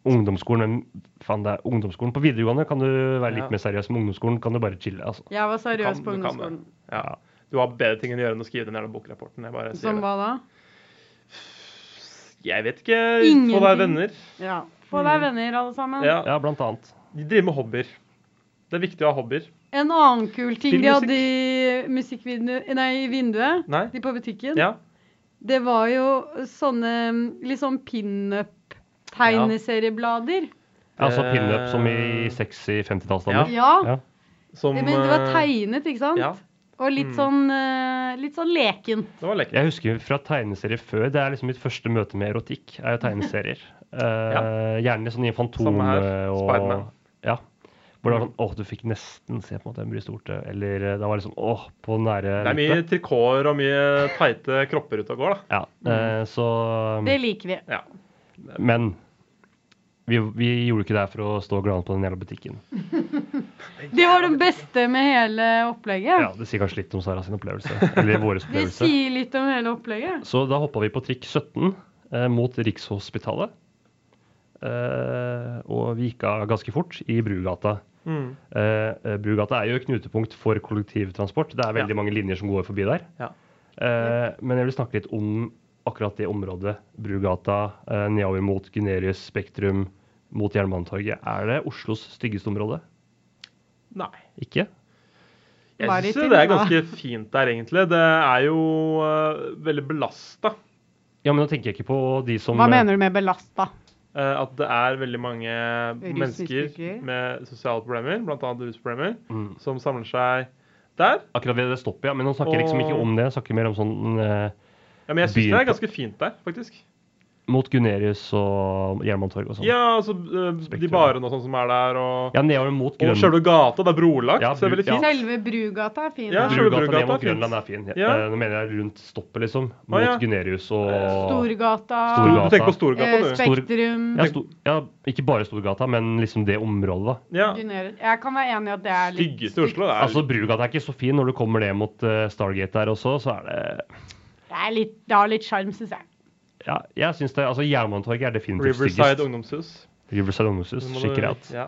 Speaker 2: Ungdomsskolen, men faen det er ungdomsskolen. På videregående kan du være litt
Speaker 3: Ja.
Speaker 2: mer seriøs. Med ungdomsskolen kan du bare chille. altså.
Speaker 4: Jeg var
Speaker 3: Du
Speaker 4: seriøs
Speaker 3: kan-
Speaker 4: på
Speaker 3: du kan det.
Speaker 4: ungdomsskolen.
Speaker 3: Ja. Du har bedre ting enn å gjøre enn å skrive den jævla bokrapporten. Jeg bare sier
Speaker 4: Som
Speaker 3: det.
Speaker 4: hva da?
Speaker 3: Jeg vet ikke. Få
Speaker 4: Ingenting.
Speaker 3: deg venner.
Speaker 4: Ja. Få deg venner, alle sammen.
Speaker 3: Mm. Ja.
Speaker 2: Ja, blant annet.
Speaker 3: De driver med hobbyer. Det er viktig å ha hobbyer.
Speaker 4: En annen kul ting
Speaker 3: Spill
Speaker 4: de hadde i musikkvinduet Nei, i vinduet.
Speaker 3: Nei?
Speaker 4: De på butikken.
Speaker 3: Ja.
Speaker 4: Det var jo sånne mm, litt sånn pinup-tegneserieblader.
Speaker 2: Altså pinup som
Speaker 3: Eh,
Speaker 2: i sexy 50-tallsdamer.
Speaker 4: Ja.
Speaker 2: Ja.
Speaker 3: Som
Speaker 4: Men det var
Speaker 3: eh,
Speaker 4: tegnet, ikke sant?
Speaker 3: Ja.
Speaker 4: Og litt
Speaker 3: Mm.
Speaker 4: sånn, eh, litt sånn lekent.
Speaker 3: Det var lekkert.
Speaker 2: Jeg husker fra tegneserier før. Det er liksom mitt første møte med erotikk. er jo
Speaker 3: *laughs*
Speaker 2: tegneserier. Eh, Gjerne sånn i Fantom
Speaker 3: Samme her,
Speaker 2: og
Speaker 3: Spiderman.
Speaker 2: ja. Hvor det var sånn åh, du fikk nesten se på en måte en brystvorte. Eller eh, det var liksom åh, på nære
Speaker 3: Det er mye
Speaker 2: nippet.
Speaker 3: trikoter og mye teite kropper ute og går, da.
Speaker 2: Ja, eh, så eh,
Speaker 4: Det liker vi.
Speaker 3: Ja.
Speaker 2: Men vi, vi gjorde ikke det her for å stå glade på den jævla butikken.
Speaker 4: Det var det beste med hele
Speaker 2: Ja,
Speaker 4: opplegget.
Speaker 2: Det sier kanskje litt om Sara sin opplevelse. Eller vår
Speaker 4: Det
Speaker 2: opplevelse.
Speaker 4: sier litt om hele opplegget.
Speaker 2: Så da hoppa vi på trikk 17 eh, mot Rikshospitalet. eh, og vi gikk av ganske fort i Brugata.
Speaker 3: Mm.
Speaker 2: Eh, Brugata er jo et knutepunkt for kollektivtransport. Det er veldig mange linjer som går forbi der.
Speaker 3: Ja.
Speaker 2: Eh, men jeg vil snakke litt om akkurat det området. Brugata, eh, nedover mot Gunerius Spektrum, mot Jernbanetorget. Er det Oslos styggeste område?
Speaker 3: Nei.
Speaker 2: Ikke?
Speaker 4: Bare
Speaker 3: Jeg
Speaker 4: til
Speaker 3: syns det er
Speaker 4: da.
Speaker 3: ganske fint der, egentlig. Det er jo eh, veldig belasta.
Speaker 2: Ja, men da tenker jeg ikke på de som
Speaker 4: Hva mener du med belasta?
Speaker 3: Eh, at det er veldig mange mennesker
Speaker 4: Rusmisbrukere.
Speaker 3: med sosiale problemer, bl.a. rusproblemer,
Speaker 2: Mm.
Speaker 3: som samler seg der.
Speaker 2: Akkurat ved det stoppet, ja. Men han snakker liksom ikke om det. Han snakker mer om sånn eh,
Speaker 3: Ja, men jeg syns
Speaker 2: Byen
Speaker 3: det er
Speaker 2: på-
Speaker 3: ganske fint der, faktisk.
Speaker 2: mot Gunerius og Jernbanetorget og sånn.
Speaker 3: Ja, altså eh, de
Speaker 2: Spektrum.
Speaker 3: barene og sånn som er der, og,
Speaker 2: ja, nedover mot
Speaker 3: og
Speaker 2: Grønland.
Speaker 3: selve gata. Det er brolagt,
Speaker 2: Ja,
Speaker 3: så det er veldig
Speaker 2: bru-
Speaker 3: fint.
Speaker 2: ja.
Speaker 4: Selve Brugata er fin.
Speaker 3: Ja,
Speaker 4: da.
Speaker 3: selve
Speaker 2: Brugata ned
Speaker 3: Brugata
Speaker 2: mot
Speaker 3: er fint.
Speaker 2: Grønland er fin. Ja.
Speaker 3: Ja.
Speaker 2: Eh, Nå mener jeg rundt stoppet, liksom. Mot
Speaker 3: ja.
Speaker 2: Gunerius og
Speaker 4: Storgata,
Speaker 2: Storgata.
Speaker 3: Du tenker på Storgata,
Speaker 4: eh,
Speaker 3: du.
Speaker 2: Stor-
Speaker 4: Spektrum
Speaker 2: ja, sto, ja, ikke bare Storgata, men liksom det området, da.
Speaker 3: Ja.
Speaker 4: Gunerius. Jeg kan være enig i at det er litt
Speaker 3: Styggeste i Oslo. Det er
Speaker 2: Altså, Brugata er ikke så fin. Når du kommer ned mot eh, Stargate der også, så er det
Speaker 4: Det, er litt, det har litt sjarm, syns jeg.
Speaker 2: Ja, jeg syns det Altså, Jernbanetorget er definitivt
Speaker 3: Riverside
Speaker 2: styggest.
Speaker 3: ungdomshus.
Speaker 2: Riverside
Speaker 3: Det
Speaker 2: Ungdomshus.
Speaker 3: må du-
Speaker 2: Skikkelig at.
Speaker 3: Ja.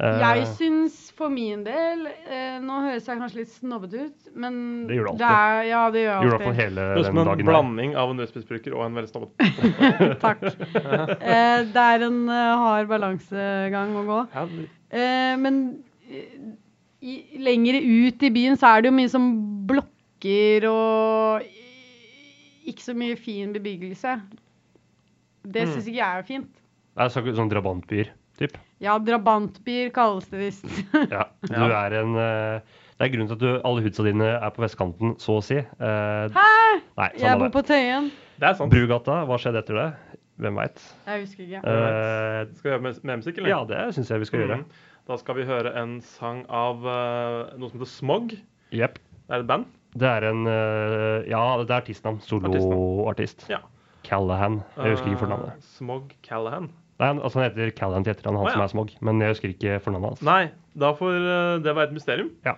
Speaker 2: Eh,
Speaker 4: Jeg syns for min del eh, Nå høres jeg kanskje litt snobbete ut, men
Speaker 2: Det gjør du alltid.
Speaker 4: er, ja, det
Speaker 2: Gjorde
Speaker 4: gjør
Speaker 2: i
Speaker 4: jeg
Speaker 2: hvert fall
Speaker 4: alltid.
Speaker 2: hele
Speaker 3: Det er
Speaker 2: den
Speaker 3: som en
Speaker 2: dagen der.
Speaker 3: blanding av en rusmisbruker og en veldig snobbete
Speaker 4: Takk. Eh, det er en eh, hard balansegang å gå.
Speaker 3: Ja, det-
Speaker 4: Eh, men eh, i, lengre ut i byen så er det jo mye som blokker og i- ikke så mye fin bebyggelse. Det
Speaker 3: Mm.
Speaker 4: syns ikke jeg er fint.
Speaker 2: Det er sånn- sånn drabantbyer, typ.
Speaker 4: Ja, drabantbyer kalles det visst. *laughs*
Speaker 2: Ja. Du
Speaker 3: Ja.
Speaker 2: er en eh, Det er grunnen til at du, alle hudsa dine er på vestkanten, så å si. Hæ? Nei,
Speaker 4: jeg
Speaker 2: samme
Speaker 4: bor
Speaker 2: det.
Speaker 4: på Tøyen.
Speaker 3: Det er sant.
Speaker 2: Brugata, hva skjedde etter det? Hvem veit?
Speaker 4: Jeg husker ikke.
Speaker 2: Eh,
Speaker 3: Skal vi gjøre med, med musikk, eller?
Speaker 2: ja, det syns jeg vi skal gjøre.
Speaker 3: Mm. Da skal vi høre en sang av eh, noe som heter Smog.
Speaker 2: Jepp.
Speaker 3: Det er et band.
Speaker 2: Det er en eh, Ja, det er artistnavn. Soloartist.
Speaker 3: Ja.
Speaker 2: Callahan. Jeg husker ikke
Speaker 3: Eh,
Speaker 2: fornavnet.
Speaker 3: Smog Callahan.
Speaker 2: Nei, han, altså, han heter Callahan til etternavn, han
Speaker 3: Å, ja.
Speaker 2: som er smog. Men jeg husker ikke fornavnet hans.
Speaker 3: Nei, da får eh, det være et mysterium.
Speaker 2: Ja.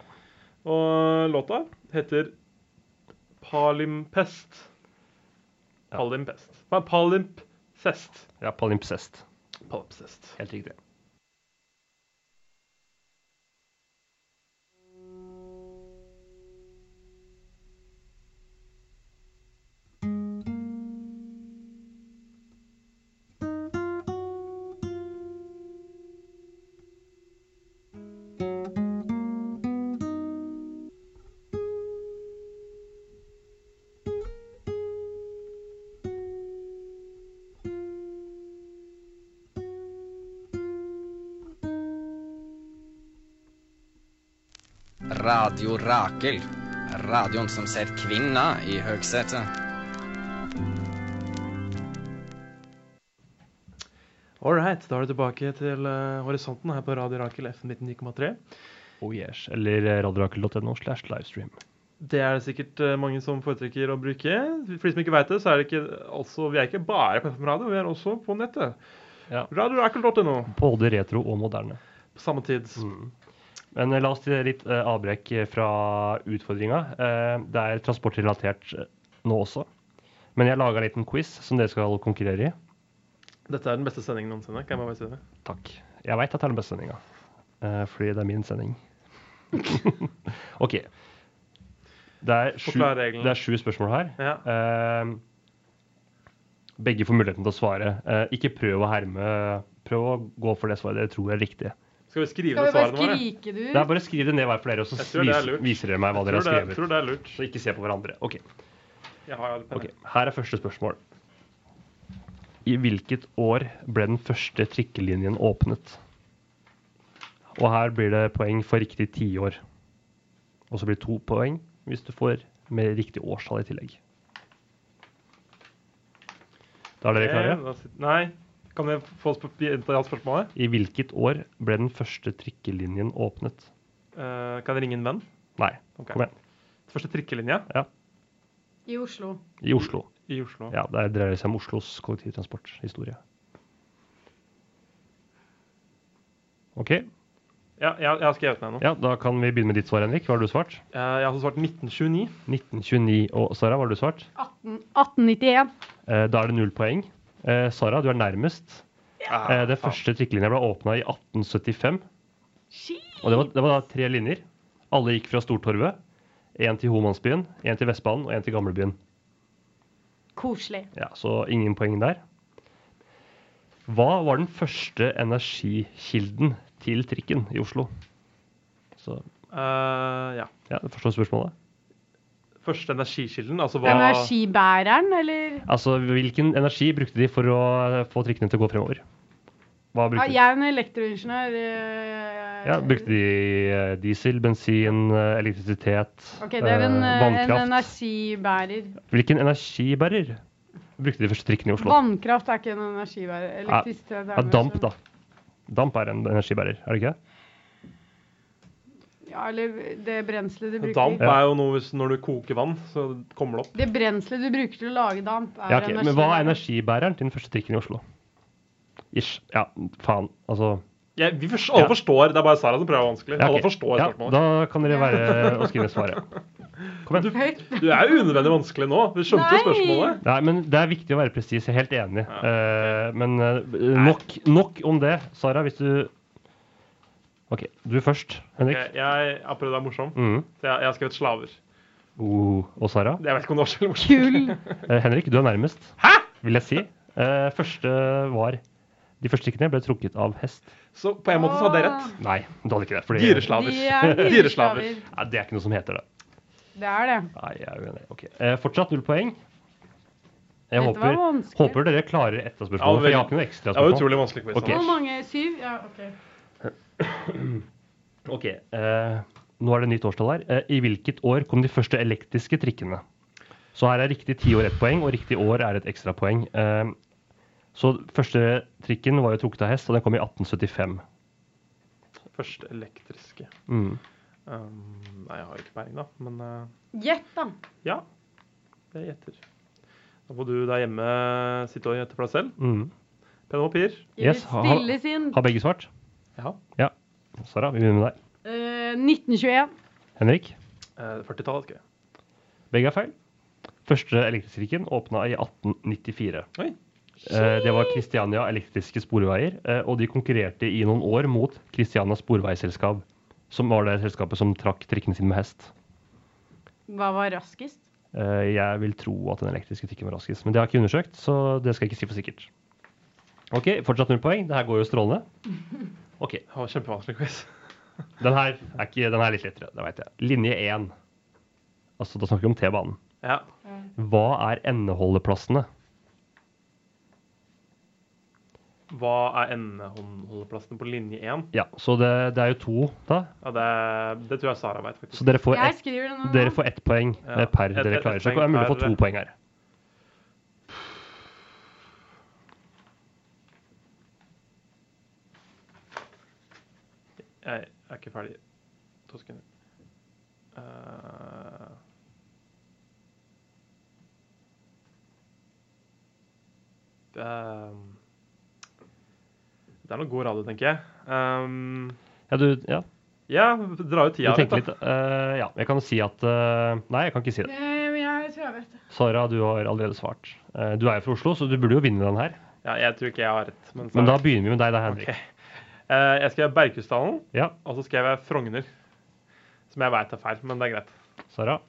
Speaker 3: Og låta heter Palimpest.
Speaker 2: Ja.
Speaker 3: Palimpest. Pa- Palimpsest.
Speaker 2: Ja, Palimpsest.
Speaker 3: Palimpsest.
Speaker 2: Helt riktig.
Speaker 6: Radio Rakel. Radioen som setter kvinna i høgsetet.
Speaker 3: All right, da er du tilbake til eh, horisonten her på Radio Rakel FN 19,3.
Speaker 2: Oh yes. Eller eh, radiorakel.no slash livestream.
Speaker 3: Det er det sikkert eh, mange som foretrekker å bruke. For de som ikke vet det, så er det ikke altså, Vi er ikke bare på FM-radio, vi er også på nettet.
Speaker 2: Ja.
Speaker 3: Radiorakel.no.
Speaker 2: Både retro og moderne.
Speaker 3: På samme tid.
Speaker 2: Mm. Men eh, la oss til litt eh, avbrekk eh, fra utfordringa. Eh, det er transportrelatert eh, nå også. Men jeg laga en liten quiz som dere skal konkurrere i.
Speaker 3: Dette er den beste sendingen noensinne. kan jeg bare si det.
Speaker 2: Takk. Jeg veit at det er den beste sendinga, eh, fordi det er min sending. *laughs* OK. Det er, sju,
Speaker 3: Forklar reglene.
Speaker 2: det er sju spørsmål her.
Speaker 3: Ja.
Speaker 2: Eh, begge får muligheten til å svare. Eh, ikke prøv å herme. Prøv å gå for det svaret dere tror er riktig.
Speaker 3: Skal vi skrive
Speaker 4: Skal
Speaker 3: ned
Speaker 4: vi bare
Speaker 3: svarene våre?
Speaker 4: skrike det
Speaker 2: Det er
Speaker 4: ut?
Speaker 2: bare Skriv det ned hver for dere, og så
Speaker 3: Jeg tror det er
Speaker 2: vis-
Speaker 3: lurt.
Speaker 2: viser dere meg hva dere
Speaker 3: Tror
Speaker 2: har
Speaker 3: det, jeg tror
Speaker 2: skrevet.
Speaker 3: det er lurt.
Speaker 2: Så ikke se på hverandre. OK.
Speaker 3: Jeg har alle
Speaker 2: Ok,
Speaker 3: penner.
Speaker 2: Her er første spørsmål. I hvilket år ble den første trikkelinjen åpnet? Og her blir det poeng for riktig tiår. Og så blir det to poeng hvis du får med riktig årstall i tillegg. Da er dere klare?
Speaker 3: Ok, Eh, da sit- Nei. Kan jeg få sp- gjenta alt spørsmålet?
Speaker 2: I hvilket år ble den første trikkelinjen åpnet?
Speaker 3: Eh, kan jeg ringe en venn?
Speaker 2: Nei,
Speaker 3: Ok.
Speaker 2: kom igjen.
Speaker 3: Første trikkelinja
Speaker 4: I Oslo.
Speaker 2: I Oslo.
Speaker 3: i Oslo.
Speaker 2: Ja, Det dreier seg om Oslos kollektivtransporthistorie. OK.
Speaker 3: Ja, jeg, jeg har skrevet ned noe.
Speaker 2: Ja, Da kan vi begynne med ditt svar, Henrik. Hva har du svart?
Speaker 3: Eh, jeg har også svart 1929.
Speaker 2: 1929. Og Sara, hva har du svart?
Speaker 4: 1891.
Speaker 2: Eh, da er det null poeng. Eh, Sara, du er nærmest. Eh, Den første trikkelinja ble åpna i 1875. Og det var, det var da tre linjer. Alle gikk fra Stortorvet. Én til Homansbyen, én til Vestbanen og én til Gamlebyen.
Speaker 4: Koselig.
Speaker 2: Ja, Så ingen poeng der. Hva var den første energikilden til trikken i Oslo? Så
Speaker 3: Eh, ja.
Speaker 2: ja, jeg forstår spørsmålet.
Speaker 3: Første energikilden, altså hva
Speaker 4: Energibæreren, eller?
Speaker 2: Altså, Hvilken energi brukte de for å få trikkene til å gå fremover? Hva
Speaker 4: Ja,
Speaker 2: brukte de?
Speaker 4: jeg er en elektroingeniør. eh,
Speaker 2: Ja, brukte de eh, diesel, bensin, eh, elektrisitet,
Speaker 4: Ok, det er en,
Speaker 2: eh,
Speaker 4: eh, en
Speaker 2: vannkraft?
Speaker 4: energibærer.
Speaker 2: Hvilken energibærer brukte de første trikkene i Oslo?
Speaker 4: Vannkraft er ikke en energibærer. Elektrisitet er
Speaker 2: Ja,
Speaker 4: mer
Speaker 2: damp,
Speaker 4: sånn-
Speaker 2: da. Damp er en energibærer, er det ikke? det?
Speaker 4: Ja, eller det brenselet du bruker.
Speaker 3: Damp
Speaker 2: Ja.
Speaker 3: er jo noe hvis når du koker vann, så kommer det opp.
Speaker 4: Det brenselet du bruker til å lage damp, er
Speaker 2: Ja, ok, Men hva er
Speaker 4: energibærer.
Speaker 2: energibæreren til den første trikken i Oslo? Ish. Ja, faen. Altså
Speaker 3: Jeg- vi forstår, alle
Speaker 2: Ja.
Speaker 3: forstår. Det er bare Sara som prøver å være vanskelig.
Speaker 2: ja, ok.
Speaker 3: Alle forstår
Speaker 2: ja,
Speaker 3: spørsmålet.
Speaker 2: Da kan dere være å skrive svaret. Kom igjen.
Speaker 4: *laughs* Høyt.
Speaker 3: Du er jo unødvendig vanskelig nå. Du skjønte jo
Speaker 4: Nei.
Speaker 3: spørsmålet.
Speaker 2: Nei, men Det er viktig å være presis. Jeg er helt enig. Eh, men eh, nok, nok om det. Sara, hvis du OK, du først. Henrik.
Speaker 3: Jeg, jeg har prøvd å være morsom,
Speaker 2: Mhm.
Speaker 3: så jeg, jeg har skrevet slaver.
Speaker 2: Oh, og Sara.
Speaker 3: Jeg vet ikke om det var så morsomt.
Speaker 4: Kull.
Speaker 2: Eh, Henrik, du er nærmest,
Speaker 3: Hæ?!
Speaker 2: vil jeg si. Eh, første var De første trikkene ble trukket av hest.
Speaker 3: Så på en måte så hadde jeg rett.
Speaker 2: Nei, du hadde ikke det. Fordi,
Speaker 3: Dyreslaver.
Speaker 4: De er
Speaker 3: Dyreslaver.
Speaker 4: dyreslaver.
Speaker 2: Nei, det er ikke noe som heter det.
Speaker 4: Det er det.
Speaker 2: Nei, jeg er uenig. Ok. Eh, fortsatt null poeng. Jeg
Speaker 4: Dette var
Speaker 2: håper,
Speaker 4: vanskelig.
Speaker 2: håper dere klarer ett av
Speaker 3: Ja,
Speaker 2: spørsmålene.
Speaker 3: vel.
Speaker 2: for jeg har ikke noe ekstra
Speaker 3: Det var
Speaker 2: spørsmål.
Speaker 3: utrolig vanskelig quiz.
Speaker 2: Ok.
Speaker 4: Hvor
Speaker 3: Anders.
Speaker 4: mange? Syv? Ja, ok.
Speaker 2: Ok, eh, nå er det nytt årstall her. Eh, I hvilket år kom de første elektriske trikkene? Så her er riktig tiår ett poeng, og riktig år er et ekstrapoeng. Eh, så første trikken var jo trukket av hest, og den kom i 1875.
Speaker 3: Første elektriske.
Speaker 2: Mm.
Speaker 3: Um, nei, jeg har ikke peiling, da. Men eh,
Speaker 4: Gjett, da.
Speaker 3: ja. Jeg gjetter. Da får du der hjemme sitte og gjette for deg selv.
Speaker 2: Mm.
Speaker 3: Penn og papir.
Speaker 4: I
Speaker 2: Yes,
Speaker 4: ditt
Speaker 2: ha-
Speaker 4: stille sinn.
Speaker 2: Har begge svart?
Speaker 3: Ja.
Speaker 2: Sara, vi begynner med deg.
Speaker 4: Eh, 1921.
Speaker 2: Henrik,
Speaker 3: Eh, 40-tallet, skrev jeg.
Speaker 2: begge er feil. Første elektriske trikken åpna i 1894.
Speaker 3: Oi.
Speaker 2: Eh, det var Kristiania Elektriske Sporveier, eh, og de konkurrerte i noen år mot Kristiania Sporveiselskap, som var det selskapet som trakk trikkene sine med hest.
Speaker 4: Hva var raskest?
Speaker 2: Eh, Jeg vil tro at den elektriske trikken var raskest, men det har jeg ikke undersøkt, så det skal jeg ikke si for sikkert. Ok, fortsatt null poeng. Det her går jo strålende. Ok,
Speaker 3: Det var kjempevanskelig quiz.
Speaker 2: Den her er, ikke, den her er litt lettere, det veit jeg. Linje 1. Altså, da snakker vi om T-banen.
Speaker 3: Ja.
Speaker 2: Hva er endeholdeplassene?
Speaker 3: Hva er endehåndholdeplassene på linje 1?
Speaker 2: Ja, så det, det er jo to, da.
Speaker 3: Ja, det, det tror jeg Sara veit, faktisk.
Speaker 2: Så dere får
Speaker 4: Jeg
Speaker 2: ett
Speaker 4: skriver det nå.
Speaker 2: dere får ett poeng
Speaker 3: Ja,
Speaker 2: eh, per
Speaker 3: ett-
Speaker 2: dere
Speaker 3: ett
Speaker 2: klarer. Så det
Speaker 3: poeng
Speaker 2: er mulig å få
Speaker 3: per-
Speaker 2: to poeng her.
Speaker 3: Jeg er ikke ferdig. To sekunder. Eh, det er- det er noe god radio, tenker jeg. Um,
Speaker 2: Ja, du, ja,
Speaker 3: ja, dra ut
Speaker 2: du
Speaker 3: tida
Speaker 2: tenker litt. eh, ja, jeg kan si at eh, Nei, jeg kan ikke si det.
Speaker 4: Eh, men jeg tror jeg vet det.
Speaker 2: Sara, du har allerede svart. Eh, du er jo fra Oslo, så du burde jo vinne den her.
Speaker 3: Ja, jeg tror ikke jeg har rett. Men,
Speaker 2: Men da begynner vi med deg, da, Henrik.
Speaker 3: Eh, jeg skrev Berkhusdalen,
Speaker 2: Ja,
Speaker 3: og så skrev jeg Frogner. Som jeg veit er feil, men det er greit.
Speaker 2: Sara.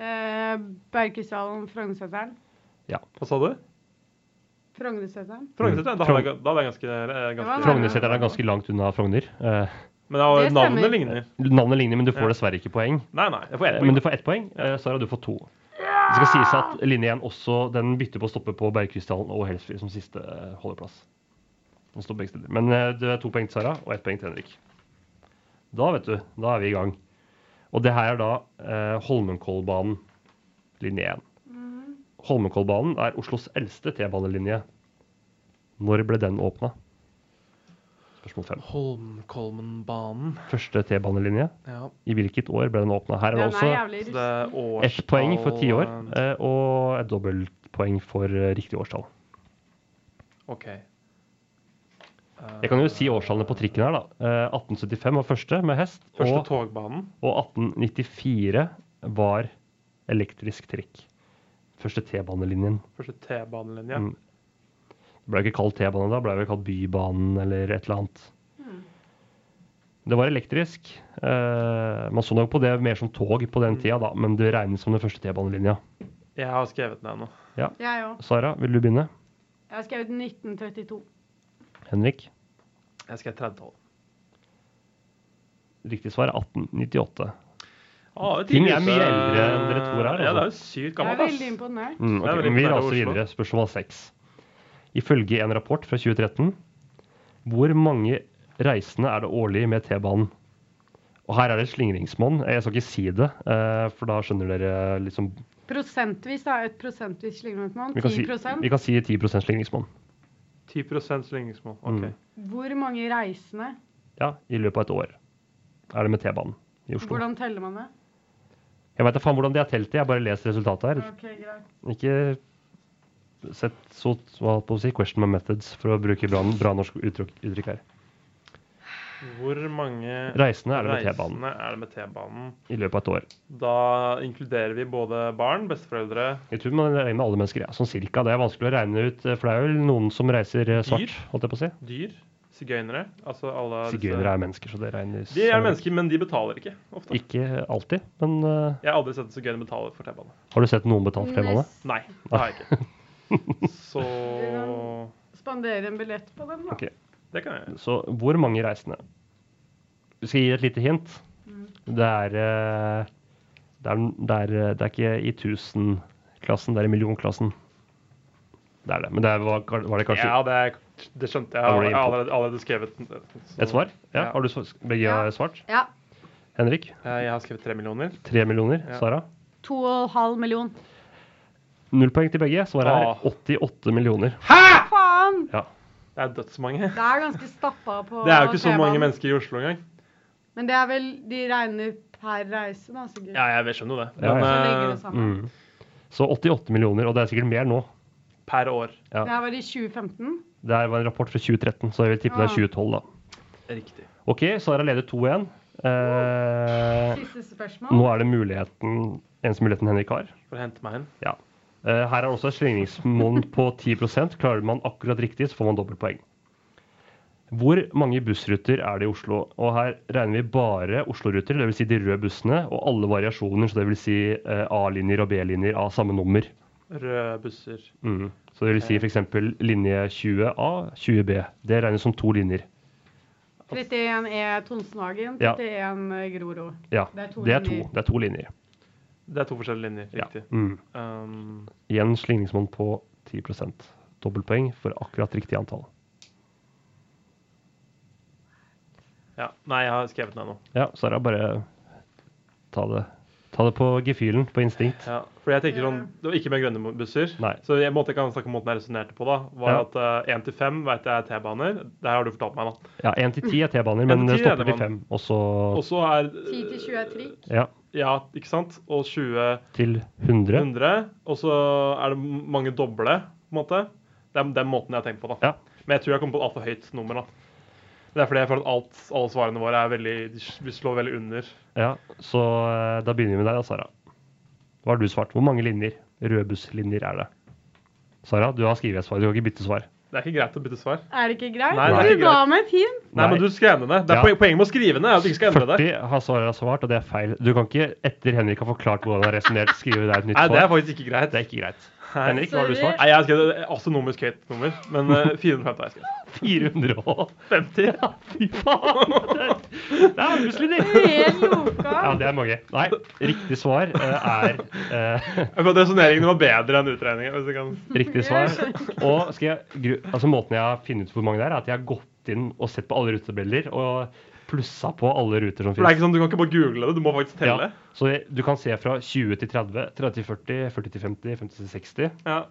Speaker 4: Eh, Berkesalen, Frognerseteren.
Speaker 3: Hva sa du?
Speaker 4: Frognerseteren.
Speaker 2: Mm.
Speaker 3: Frognerseteren? Da, hadde jeg- da hadde jeg ganske, eh,
Speaker 4: Det var
Speaker 3: ganske
Speaker 2: Frognerseteren er ganske langt unna Frogner. Eh,
Speaker 3: Men da var
Speaker 4: Det stemmer.
Speaker 3: navnet ligner.
Speaker 2: navnet ligner, men du
Speaker 3: Ja.
Speaker 2: får dessverre ikke poeng.
Speaker 3: Nei, nei. Jeg får ett
Speaker 2: Eh,
Speaker 3: poeng.
Speaker 2: Men du får ett poeng. Eh, Sara, du får to. Det skal sies at linje 1 også den bytter på å stoppe på Bergkrystallen og Helsfyr som siste eh, holdeplass. Den står begge steder. Men eh, det er to poeng til Sara og ett poeng til Henrik. Da vet du, da er vi i gang. Og det her er da eh, Holmenkollbanen, linje 1.
Speaker 4: Mm.
Speaker 2: Holmenkollbanen er Oslos eldste T-banelinje. Når ble den åpna? Spørsmål 5.
Speaker 3: Holmenkollenbanen.
Speaker 2: Første T-banelinje.
Speaker 3: Ja.
Speaker 2: I hvilket år ble den åpna? Her er det
Speaker 4: Den er
Speaker 2: også
Speaker 4: jævlig
Speaker 3: Så
Speaker 4: russ.
Speaker 3: det er årstall
Speaker 2: Ett poeng for ti år,
Speaker 3: eh,
Speaker 2: eh, og et dobbeltpoeng for eh, riktig årstall.
Speaker 3: OK.
Speaker 2: Jeg kan jo si årstallene på trikken her, da. Eh, 1875 var første med hest,
Speaker 3: Første
Speaker 2: og,
Speaker 3: togbanen.
Speaker 2: og 1894 var elektrisk trikk. Første T-banelinjen.
Speaker 3: Første T-banelinje.
Speaker 2: Mm. Det ble ikke kalt T-bane da, det ble vel kalt Bybanen eller et eller annet. Det var elektrisk. Eh, man så nok på det mer som tog på den tida, da, men det regnes som den første T-banelinja.
Speaker 3: Jeg har skrevet ned nå.
Speaker 4: Jeg òg.
Speaker 2: Sara, vil du begynne?
Speaker 4: Jeg har skrevet 1932.
Speaker 2: Henrik?
Speaker 3: Jeg skrev 30-tallet.
Speaker 2: Riktig svar er 1898.
Speaker 3: Ah, det
Speaker 2: Ting er
Speaker 3: tidligere-
Speaker 2: mye eldre enn dere tror her,
Speaker 3: Ja,
Speaker 2: altså.
Speaker 3: det er jo sykt
Speaker 4: Jeg er
Speaker 3: gammelt.
Speaker 4: veldig
Speaker 3: ass.
Speaker 4: imponert.
Speaker 2: Mm, ok,
Speaker 3: Det er veldig
Speaker 2: men vi
Speaker 3: imponerende
Speaker 2: raser
Speaker 3: Oslo.
Speaker 2: videre. Spørsmål seks. Ifølge en rapport fra 2013, hvor mange reisende er det årlig med T-banen? Og her er det et slingringsmonn. Jeg skal ikke si det, eh, for da skjønner dere liksom
Speaker 4: Prosentvis, da. Et prosentvis slingringsmonn.
Speaker 2: Vi kan si,
Speaker 4: 10
Speaker 2: vi kan si 10 slingringsmonn.
Speaker 3: 10 slingringsmål. Ok.
Speaker 2: Mm.
Speaker 4: Hvor mange reisende?
Speaker 2: Ja, i løpet av et år er det med T-banen i Oslo.
Speaker 4: Hvordan teller man det?
Speaker 2: Jeg veit da faen hvordan de har telt det, jeg bare leser resultatet her.
Speaker 4: Ok, greit.
Speaker 2: Ikke sett så hva holdt på å si, question my methods, for å bruke bra, bra norsk uttrykk, uttrykk her.
Speaker 3: Hvor mange
Speaker 2: Reisende er det med T-banen
Speaker 3: reisende er det med T-banen?
Speaker 2: i løpet av et år.
Speaker 3: Da inkluderer vi både barn, besteforeldre
Speaker 2: Jeg tror man regner med alle mennesker, ja. sånn cirka. Det er vanskelig å regne ut, eh, for det er vel noen som reiser eh, svart,
Speaker 3: Dyr?
Speaker 2: holdt jeg på å si.
Speaker 3: dyr, sigøynere altså alle disse-
Speaker 2: Sigøynere er mennesker, så det regnes
Speaker 3: De er mennesker, men de betaler ikke ofte.
Speaker 2: Ikke alltid, men eh,
Speaker 3: Jeg har aldri sett en sigøyner betale for T-bane.
Speaker 2: har du sett noen betalt for T-bane?
Speaker 4: Nes-
Speaker 3: Nei, det har jeg *laughs* ikke. Så
Speaker 4: Spandere en billett på dem, da.
Speaker 2: Ok.
Speaker 3: det kan jeg gjøre.
Speaker 2: Så hvor mange reisende? Vi skal gi et lite hint. Det er eh, det er, det er, eh, det er ikke i tusenklassen, det er i millionklassen. Det er det. Men det er- var, var det kanskje
Speaker 3: Ja, det, er- det skjønte jeg.
Speaker 2: Da var det
Speaker 3: Jeg har
Speaker 2: innpå.
Speaker 3: allerede, allerede skrevet så-
Speaker 2: et svar? Ja.
Speaker 3: Ja.
Speaker 2: Har du svar- begge
Speaker 4: Ja.
Speaker 2: svart?
Speaker 4: Ja.
Speaker 2: Henrik?
Speaker 3: Jeg har skrevet tre millioner.
Speaker 2: Tre millioner?
Speaker 3: Ja.
Speaker 2: Sara?
Speaker 4: 2,5 million.
Speaker 2: Null poeng til begge. Svaret
Speaker 3: Ah.
Speaker 2: er 88 millioner.
Speaker 4: Faen!
Speaker 3: Det er dødsmange.
Speaker 4: Det er ganske stappa på
Speaker 3: Det er jo ikke så mange
Speaker 4: T-banen.
Speaker 3: mennesker i Oslo engang.
Speaker 4: Men det er vel De regner per reise, da, sikkert.
Speaker 3: Ja, jeg skjønner jo det.
Speaker 2: Ja,
Speaker 3: Men
Speaker 4: Så legger det
Speaker 3: eh,
Speaker 4: sammen.
Speaker 2: Mm. Så 88 millioner, og det er sikkert mer nå.
Speaker 3: per år.
Speaker 2: ja.
Speaker 4: Det her var i 2015.
Speaker 2: Det her var en rapport fra 2013, så jeg vil tippe det er 2012, da.
Speaker 3: Riktig.
Speaker 2: OK, Sara leder 2-1. Eh,
Speaker 4: Siste
Speaker 2: nå
Speaker 4: spørsmål.
Speaker 2: er det muligheten, eneste muligheten Henrik har.
Speaker 3: For å hente meg hen.
Speaker 2: Eh, her er også et slingringsmonn *laughs* på 10 Klarer man akkurat riktig, så får man dobbeltpoeng. Hvor mange bussruter er det i Oslo? Og her regner vi bare Oslo-ruter, dvs. Si de røde bussene, og alle variasjoner, så dvs. Si, eh, A-linjer og B-linjer av samme nummer.
Speaker 3: Røde busser.
Speaker 2: Mm. Så det vil
Speaker 4: Eh.
Speaker 2: si f.eks. linje 20A, 20B. Det regnes som to linjer.
Speaker 4: 31 er Tonsenhagen,
Speaker 2: Ja.
Speaker 4: 31 er Grorud.
Speaker 2: Ja,
Speaker 4: Det er to
Speaker 2: det er to,
Speaker 4: linjer.
Speaker 2: det er to linjer.
Speaker 3: Det er to forskjellige linjer.
Speaker 2: Ja.
Speaker 3: Riktig.
Speaker 2: Mm.
Speaker 3: Um,
Speaker 2: Igjen slingringsmonn på 10 Dobbeltpoeng for akkurat riktig antall.
Speaker 3: ja. Nei, jeg har skrevet ned nå.
Speaker 2: Ja, Sara, bare ta det, ta det på gefühlen, på instinkt.
Speaker 3: Ja. For jeg tenker sånn, Det var ikke med grønne busser.
Speaker 2: Nei.
Speaker 3: Så jeg måtte ikke snakke om måten jeg resonnerte på da. Var
Speaker 2: Ja.
Speaker 3: at én til fem vet jeg er T-baner. Det her har du fortalt meg, da.
Speaker 2: Ja, 1 til 10 er T-baner,
Speaker 3: En
Speaker 2: men
Speaker 3: til
Speaker 2: det
Speaker 3: ti er
Speaker 2: stopper til
Speaker 3: T-banen.
Speaker 2: 5. Og så
Speaker 3: Og så er
Speaker 4: 10 til 20 er trikk.
Speaker 2: ja,
Speaker 3: Ja, ikke sant? Og 20
Speaker 2: til 100.
Speaker 3: 100. Og så er det mange doble, på en måte. Det er den måten jeg har tenkt på, da.
Speaker 2: Ja.
Speaker 3: Men jeg tror jeg kom på et altfor høyt nummer, da. Det er fordi jeg føler at alt, alle svarene våre er veldig de s- Vi slår veldig under.
Speaker 2: ja. Så eh, da begynner vi med deg, da, Sara. Hva har du svart? Hvor mange linjer? Rødbusslinjer er det? Sara, du har skrevet et svar. Du kan ikke bytte svar.
Speaker 3: Det er ikke greit å bytte svar.
Speaker 4: Er det ikke greit?
Speaker 3: Nei, det er
Speaker 4: du
Speaker 3: ikke
Speaker 4: ga meg et hint!
Speaker 3: Nei,
Speaker 2: Nei.
Speaker 3: men du skrev det ned. Det er
Speaker 2: Ja.
Speaker 3: poen- Poenget med å skrive ned er at du ikke skal endre det.
Speaker 2: 40 har Sara svart, og det er feil. Du kan ikke, etter Henrik har forklart hvordan han har resonnert, skrive deg et nytt
Speaker 3: Nei, det er
Speaker 2: svar.
Speaker 3: faktisk ikke greit.
Speaker 2: Det er ikke greit.
Speaker 3: Nei.
Speaker 2: Henrik, hva har du
Speaker 4: Sorry.
Speaker 2: svart?
Speaker 3: Nei, jeg har skrevet et astronomisk høyt nummer, men eh, *laughs* 450 har jeg skrevet.
Speaker 2: 450. Ja, fy faen! Det er, det er busslinjer!
Speaker 4: Helt loka.
Speaker 2: Ja, det er mange. Nei, riktig svar eh, er eh,
Speaker 3: Jeg føler at Resoneringen var bedre enn utregningen. Hvis jeg kan.
Speaker 2: Riktig svar. Og skal jeg, gru- altså Måten jeg har funnet ut hvor mange det er, er at jeg har gått inn og sett på alle rutetabeller og plussa på alle ruter som
Speaker 3: For det
Speaker 2: finnes.
Speaker 3: er ikke sånn, Du kan ikke bare google det, du må faktisk telle.
Speaker 2: Så jeg, du kan se fra 20 til 30, 30 til 40, 40 til 50, 50 til 60.
Speaker 3: Ja.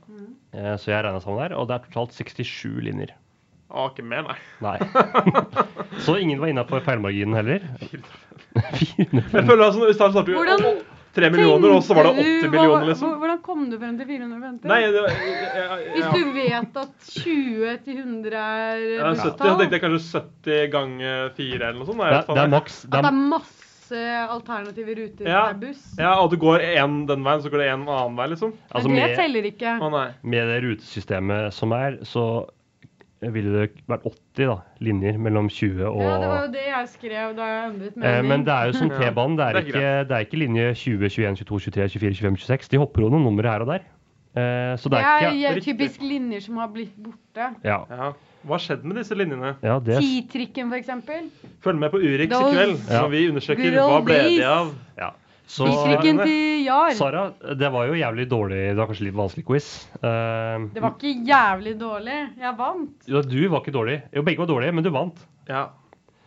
Speaker 2: Eh, Så jeg regna sammen der, og det er totalt 67 linjer.
Speaker 3: Å, ikke mer, nei.
Speaker 2: *laughs* Nei. Så ingen var innafor feilmarginen *laughs* heller. *laughs* 450.
Speaker 3: Jeg føler at sånn, I starten startet vi
Speaker 4: Hvordan
Speaker 3: å, å, 3 millioner, og så var det
Speaker 4: tenkte du-
Speaker 3: 80 millioner,
Speaker 4: hva-
Speaker 3: liksom.
Speaker 4: hvor- Hvordan kom du frem til 450?
Speaker 3: Nei, det, jeg, jeg, jeg,
Speaker 4: Hvis du vet at 20 til 100 er
Speaker 3: Ja, 70, så tenkte
Speaker 4: busstall,
Speaker 3: jeg kanskje 70 ganger 4 eller noe sånt. nei,
Speaker 2: Det,
Speaker 3: jeg
Speaker 2: er-
Speaker 3: vet faen
Speaker 2: det er
Speaker 3: jeg.
Speaker 2: maks. Det
Speaker 4: at det
Speaker 2: er,
Speaker 4: er masse alternative ruter
Speaker 3: Ja.
Speaker 4: per buss
Speaker 3: Ja, og du går én den veien, så går det én annen vei, liksom.
Speaker 2: altså
Speaker 4: Men det
Speaker 2: med,
Speaker 4: teller ikke.
Speaker 3: Å nei.
Speaker 2: med det rutesystemet som er, så ville det vært 80 da, linjer mellom 20 og
Speaker 4: Ja, det var jo det jeg skrev da jeg endret
Speaker 2: Eh,
Speaker 4: melding.
Speaker 2: Men det er jo *laughs* som T-banen. Det, er
Speaker 3: Det er
Speaker 2: ikke- det er ikke linje 20, 21, 22, 23, 24, 25, 26. De hopper jo noen numre her og der. Eh, Så det er ikke
Speaker 4: jo
Speaker 3: riktig.
Speaker 4: typisk linjer som har blitt borte.
Speaker 2: Ja,
Speaker 3: Ja. Hva har skjedd med disse linjene?
Speaker 2: ja det
Speaker 4: Titrikken, for eksempel.
Speaker 3: Følg med på Urix i
Speaker 4: Those
Speaker 3: kveld,
Speaker 2: Ja.
Speaker 3: når vi undersøker
Speaker 4: good old
Speaker 3: hva ble
Speaker 4: days.
Speaker 3: de av.
Speaker 2: Så
Speaker 4: Titrikken til Jar.
Speaker 2: Sara, det var jo jævlig dårlig. Det var kanskje litt vanskelig quiz. Eh,
Speaker 4: Det var ikke jævlig dårlig. Jeg vant.
Speaker 2: jo, du var ikke dårlig. Jo, begge var dårlige, men du vant.
Speaker 3: Ja,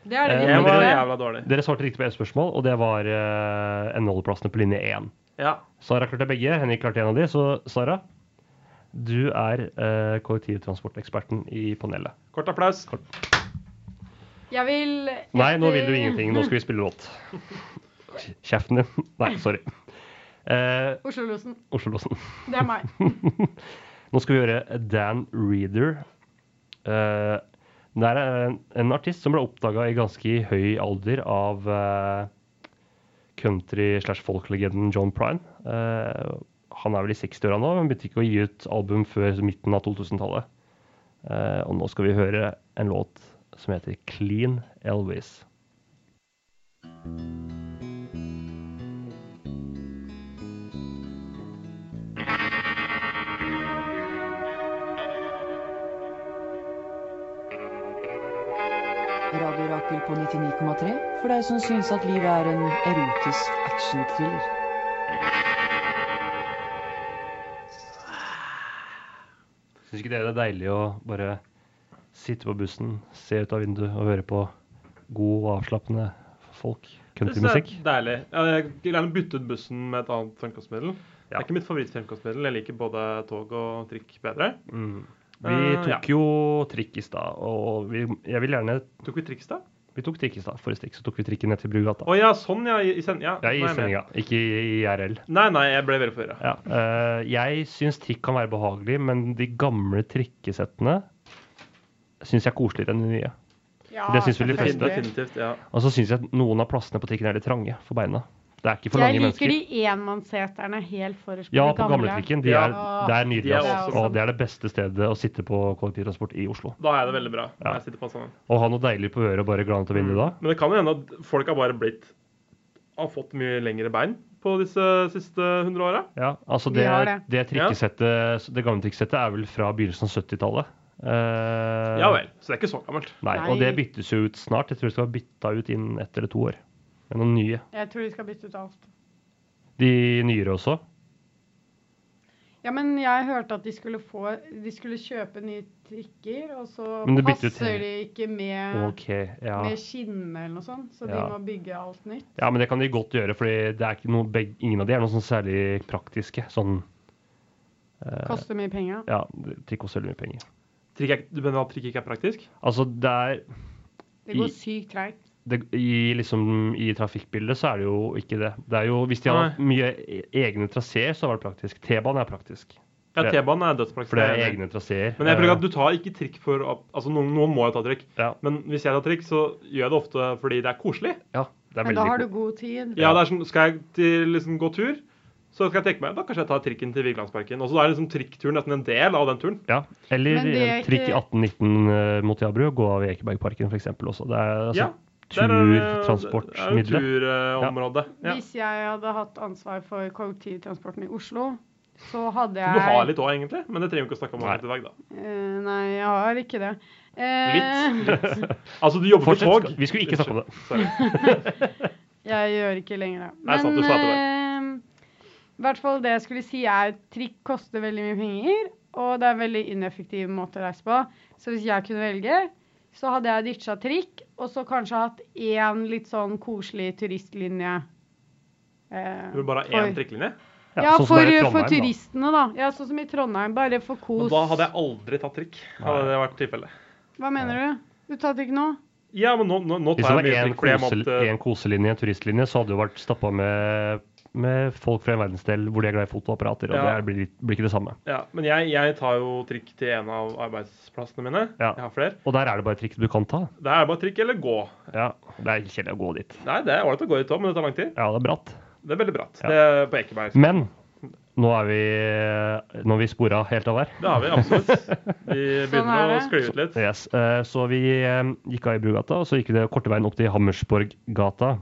Speaker 4: Det er det
Speaker 2: Eh,
Speaker 4: vi
Speaker 2: men
Speaker 3: jeg var
Speaker 4: gjorde.
Speaker 3: jævla dårlig.
Speaker 2: Dere svarte riktig på ett spørsmål, og det var uh, NL-plassene på linje 1.
Speaker 3: Ja.
Speaker 2: Sara klarte begge, Henrik klarte en av de. Så Sara, du er eh, kollektivtransporteksperten i panelet.
Speaker 3: Kort applaus.
Speaker 4: Jeg vil
Speaker 2: Nei, nå vil du ingenting. Nå skal vi spille låt. Kjeften din. Nei, sorry. Eh,
Speaker 4: Oslo-losen.
Speaker 2: Oslo-låsen. *laughs*
Speaker 4: Det er meg.
Speaker 2: Nå skal vi gjøre Dan Reeder. Eh, det er en, en artist som ble oppdaga i ganske høy alder av eh, country slash folk-legenden John Prine. Eh, han er vel i 60-åra nå, men begynte ikke å gi ut album før midten av 2000-tallet. Eh, og nå skal vi høre en låt som heter Clean Elvis.
Speaker 7: Radio Rakel på 99,3 for deg som syns at livet er en erotisk actionthriller.
Speaker 2: Syns ikke dere det er deilig å bare sitte på bussen, se ut av vinduet og høre på god og avslappende folk? Countrymusikk?
Speaker 3: Det er deilig. Ja, Jeg vil gjerne bytte ut bussen med et annet fremkomstmiddel. Det
Speaker 2: Ja.
Speaker 3: er ikke mitt favorittfremkomstmiddel. Jeg liker både tog og trikk bedre.
Speaker 2: Vi
Speaker 3: Eh,
Speaker 2: tok
Speaker 3: ja.
Speaker 2: jo trikk i stad, og vi, jeg vil gjerne
Speaker 3: Tok vi triks, da?
Speaker 2: Vi tok trikk i stad. Forrige stikk så tok vi trikken ned til Brugata.
Speaker 3: Å ja, sånn, ja. I, i send- ja,
Speaker 2: Ja, i
Speaker 3: nå er jeg med.
Speaker 2: sendinga, ikke i i IRL.
Speaker 3: Nei, nei, jeg ble veldig forvirra.
Speaker 2: Ja. eh, jeg syns trikk kan være behagelig, men de gamle trikkesettene syns jeg er koseligere enn de nye.
Speaker 4: Ja,
Speaker 2: Det syns vel de
Speaker 4: selvfølgelig.
Speaker 2: fleste.
Speaker 3: Definitivt. Ja.
Speaker 2: Og så syns jeg at noen av plassene på trikken er litt trange for beina. Det er ikke for
Speaker 4: Jeg
Speaker 2: lange
Speaker 4: liker
Speaker 2: mennesker.
Speaker 4: de enmannsseterne helt forrest
Speaker 2: Ja, på gamletrikken. De er,
Speaker 4: Ja.
Speaker 2: det er nydelig.
Speaker 3: De er sånn.
Speaker 2: ass.
Speaker 4: også-
Speaker 2: og det er det beste stedet å sitte på kollektivtransport i Oslo.
Speaker 3: Da har jeg det veldig bra.
Speaker 2: Ja.
Speaker 3: Jeg sitter på en sånn.
Speaker 2: Å ha noe deilig på øret og bare glane ut av vinduet da.
Speaker 3: Men det kan jo hende at folk har bare blitt har fått mye lengre bein på disse siste 100 åra.
Speaker 2: Ja, altså
Speaker 4: Vi
Speaker 2: det,
Speaker 4: har
Speaker 2: det.
Speaker 4: det.
Speaker 2: trikkesettet, det gamle trikkesettet er vel fra begynnelsen av 70-tallet. Eh,
Speaker 3: Ja vel. Så det er ikke så gammelt.
Speaker 2: Nei, og
Speaker 4: Nei.
Speaker 2: det byttes jo ut snart. Jeg tror det skal være bytta ut innen ett eller to år. Med noen nye.
Speaker 4: Jeg tror de skal bytte ut alt.
Speaker 2: De nyere også.
Speaker 4: Ja, men jeg hørte at de skulle få De skulle kjøpe nye trikker, og så
Speaker 2: Men det bytter ut-
Speaker 4: passer de ikke med
Speaker 2: OK, ja.
Speaker 4: med skinne eller noe sånt, så de
Speaker 2: Ja.
Speaker 4: må bygge alt nytt.
Speaker 2: Ja, men det kan de godt gjøre, for det er ikke noe, beg- ingen av de er noe sånn særlig praktiske. Sånn
Speaker 4: Koster mye penger.
Speaker 2: Eh, Ja, trikk koster veldig mye penger.
Speaker 3: Trikk er, du mener at trikk ikke er praktisk?
Speaker 2: Altså, det er
Speaker 4: Det går
Speaker 2: I-
Speaker 4: sykt treigt.
Speaker 2: det, i, liksom, I trafikkbildet så er det jo ikke det. det er jo, hvis de hadde hatt mye e- egne traseer, så var det praktisk. T-banen er praktisk,
Speaker 3: Ja,
Speaker 2: Det-
Speaker 3: T-banen er dødspraktisk.
Speaker 2: for det er egne traseer.
Speaker 3: Men jeg føler at du tar ikke trikk for å- Altså, noen, noen må jo ta trikk.
Speaker 2: Ja.
Speaker 3: Men hvis jeg tar trikk, så gjør jeg det ofte fordi det er koselig.
Speaker 2: Eh, Ja, det er
Speaker 4: Men da
Speaker 2: veldig
Speaker 4: har du
Speaker 2: god.
Speaker 4: god tid.
Speaker 3: Ja, det er sånn, Skal jeg til, liksom, gå tur, så skal jeg tenke meg Da kanskje jeg tar trikken til Vigelandsparken. Og så er liksom trikkturen nesten en del av den turen.
Speaker 2: Ja, eller
Speaker 4: Men det er ikke-
Speaker 2: trikk 1819 eh, mot Jabru og gå av i Ekebergparken f.eks. også. Det er altså
Speaker 3: Ja, Der er det- Det
Speaker 2: turtransportmiddelet.
Speaker 3: er jo turområdet. Ja.
Speaker 4: Hvis jeg hadde hatt ansvar for kollektivtransporten i Oslo, så hadde jeg
Speaker 3: Du har litt òg, egentlig, men det trenger vi ikke å snakke om
Speaker 2: Nei.
Speaker 3: akkurat i dag. da.
Speaker 4: Eh, Nei, jeg har ikke det. Eh,
Speaker 3: Litt. Altså, du jobber på
Speaker 2: Fortsett,
Speaker 3: tog.
Speaker 2: skal- vi skulle ikke snakke om det.
Speaker 3: Sorry.
Speaker 4: *laughs* Jeg gjør ikke lenger det.
Speaker 3: Nei, sant, du sa det
Speaker 4: eh, i hvert fall det jeg skulle si er trikk koster veldig mye penger, og det er en veldig ineffektiv måte å reise på. Så hvis jeg kunne velge, så hadde jeg ditcha trikk, og så kanskje hatt én litt sånn koselig turistlinje. eh,
Speaker 3: Du vil bare ha
Speaker 4: for-
Speaker 3: én trikkelinje?
Speaker 2: Ja,
Speaker 4: Ja,
Speaker 2: sånn som
Speaker 4: for,
Speaker 2: det er i
Speaker 4: for
Speaker 2: Trondheim, da.
Speaker 4: turistene, da. Ja, sånn som i Trondheim, bare for
Speaker 3: Men
Speaker 4: kos.
Speaker 3: da hadde jeg aldri tatt trikk. Hadde det vært tilfellet.
Speaker 4: Hva mener du? Du tar trikk nå?
Speaker 3: Ja, men nå, nå, nå
Speaker 2: Hvis det
Speaker 3: tar
Speaker 2: var
Speaker 3: jeg mye
Speaker 2: én
Speaker 3: trikk fordi jeg
Speaker 2: kosel-
Speaker 3: måtte
Speaker 2: én koselinje, en turistlinje, så hadde det jo vært stappa med, med folk fra en verdensdel hvor de er glad i fotoapparater, og
Speaker 3: Ja.
Speaker 2: det blir, blir ikke det samme.
Speaker 3: Ja, men jeg, jeg tar jo trikk til en av arbeidsplassene mine.
Speaker 2: Ja.
Speaker 3: Jeg har flere.
Speaker 2: Og der er det bare trikk du kan ta.
Speaker 3: Det er bare trikk eller gå.
Speaker 2: Ja, Det er kjedelig å gå dit.
Speaker 3: Nei, det er ålreit å gå i tog, men det tar lang tid.
Speaker 2: Ja, det er bratt.
Speaker 3: Det er veldig bratt.
Speaker 2: Ja.
Speaker 3: Det er på Ekeberg.
Speaker 2: Men Nå er vi, nå er vi spora helt av her.
Speaker 3: Det har vi absolutt. Vi
Speaker 4: *laughs* Sånn
Speaker 3: begynner å
Speaker 4: er
Speaker 3: skli ut litt.
Speaker 2: Yes. eh, Så vi eh, gikk av i Brugata, og så gikk vi det korte veien opp til Hammersborggata.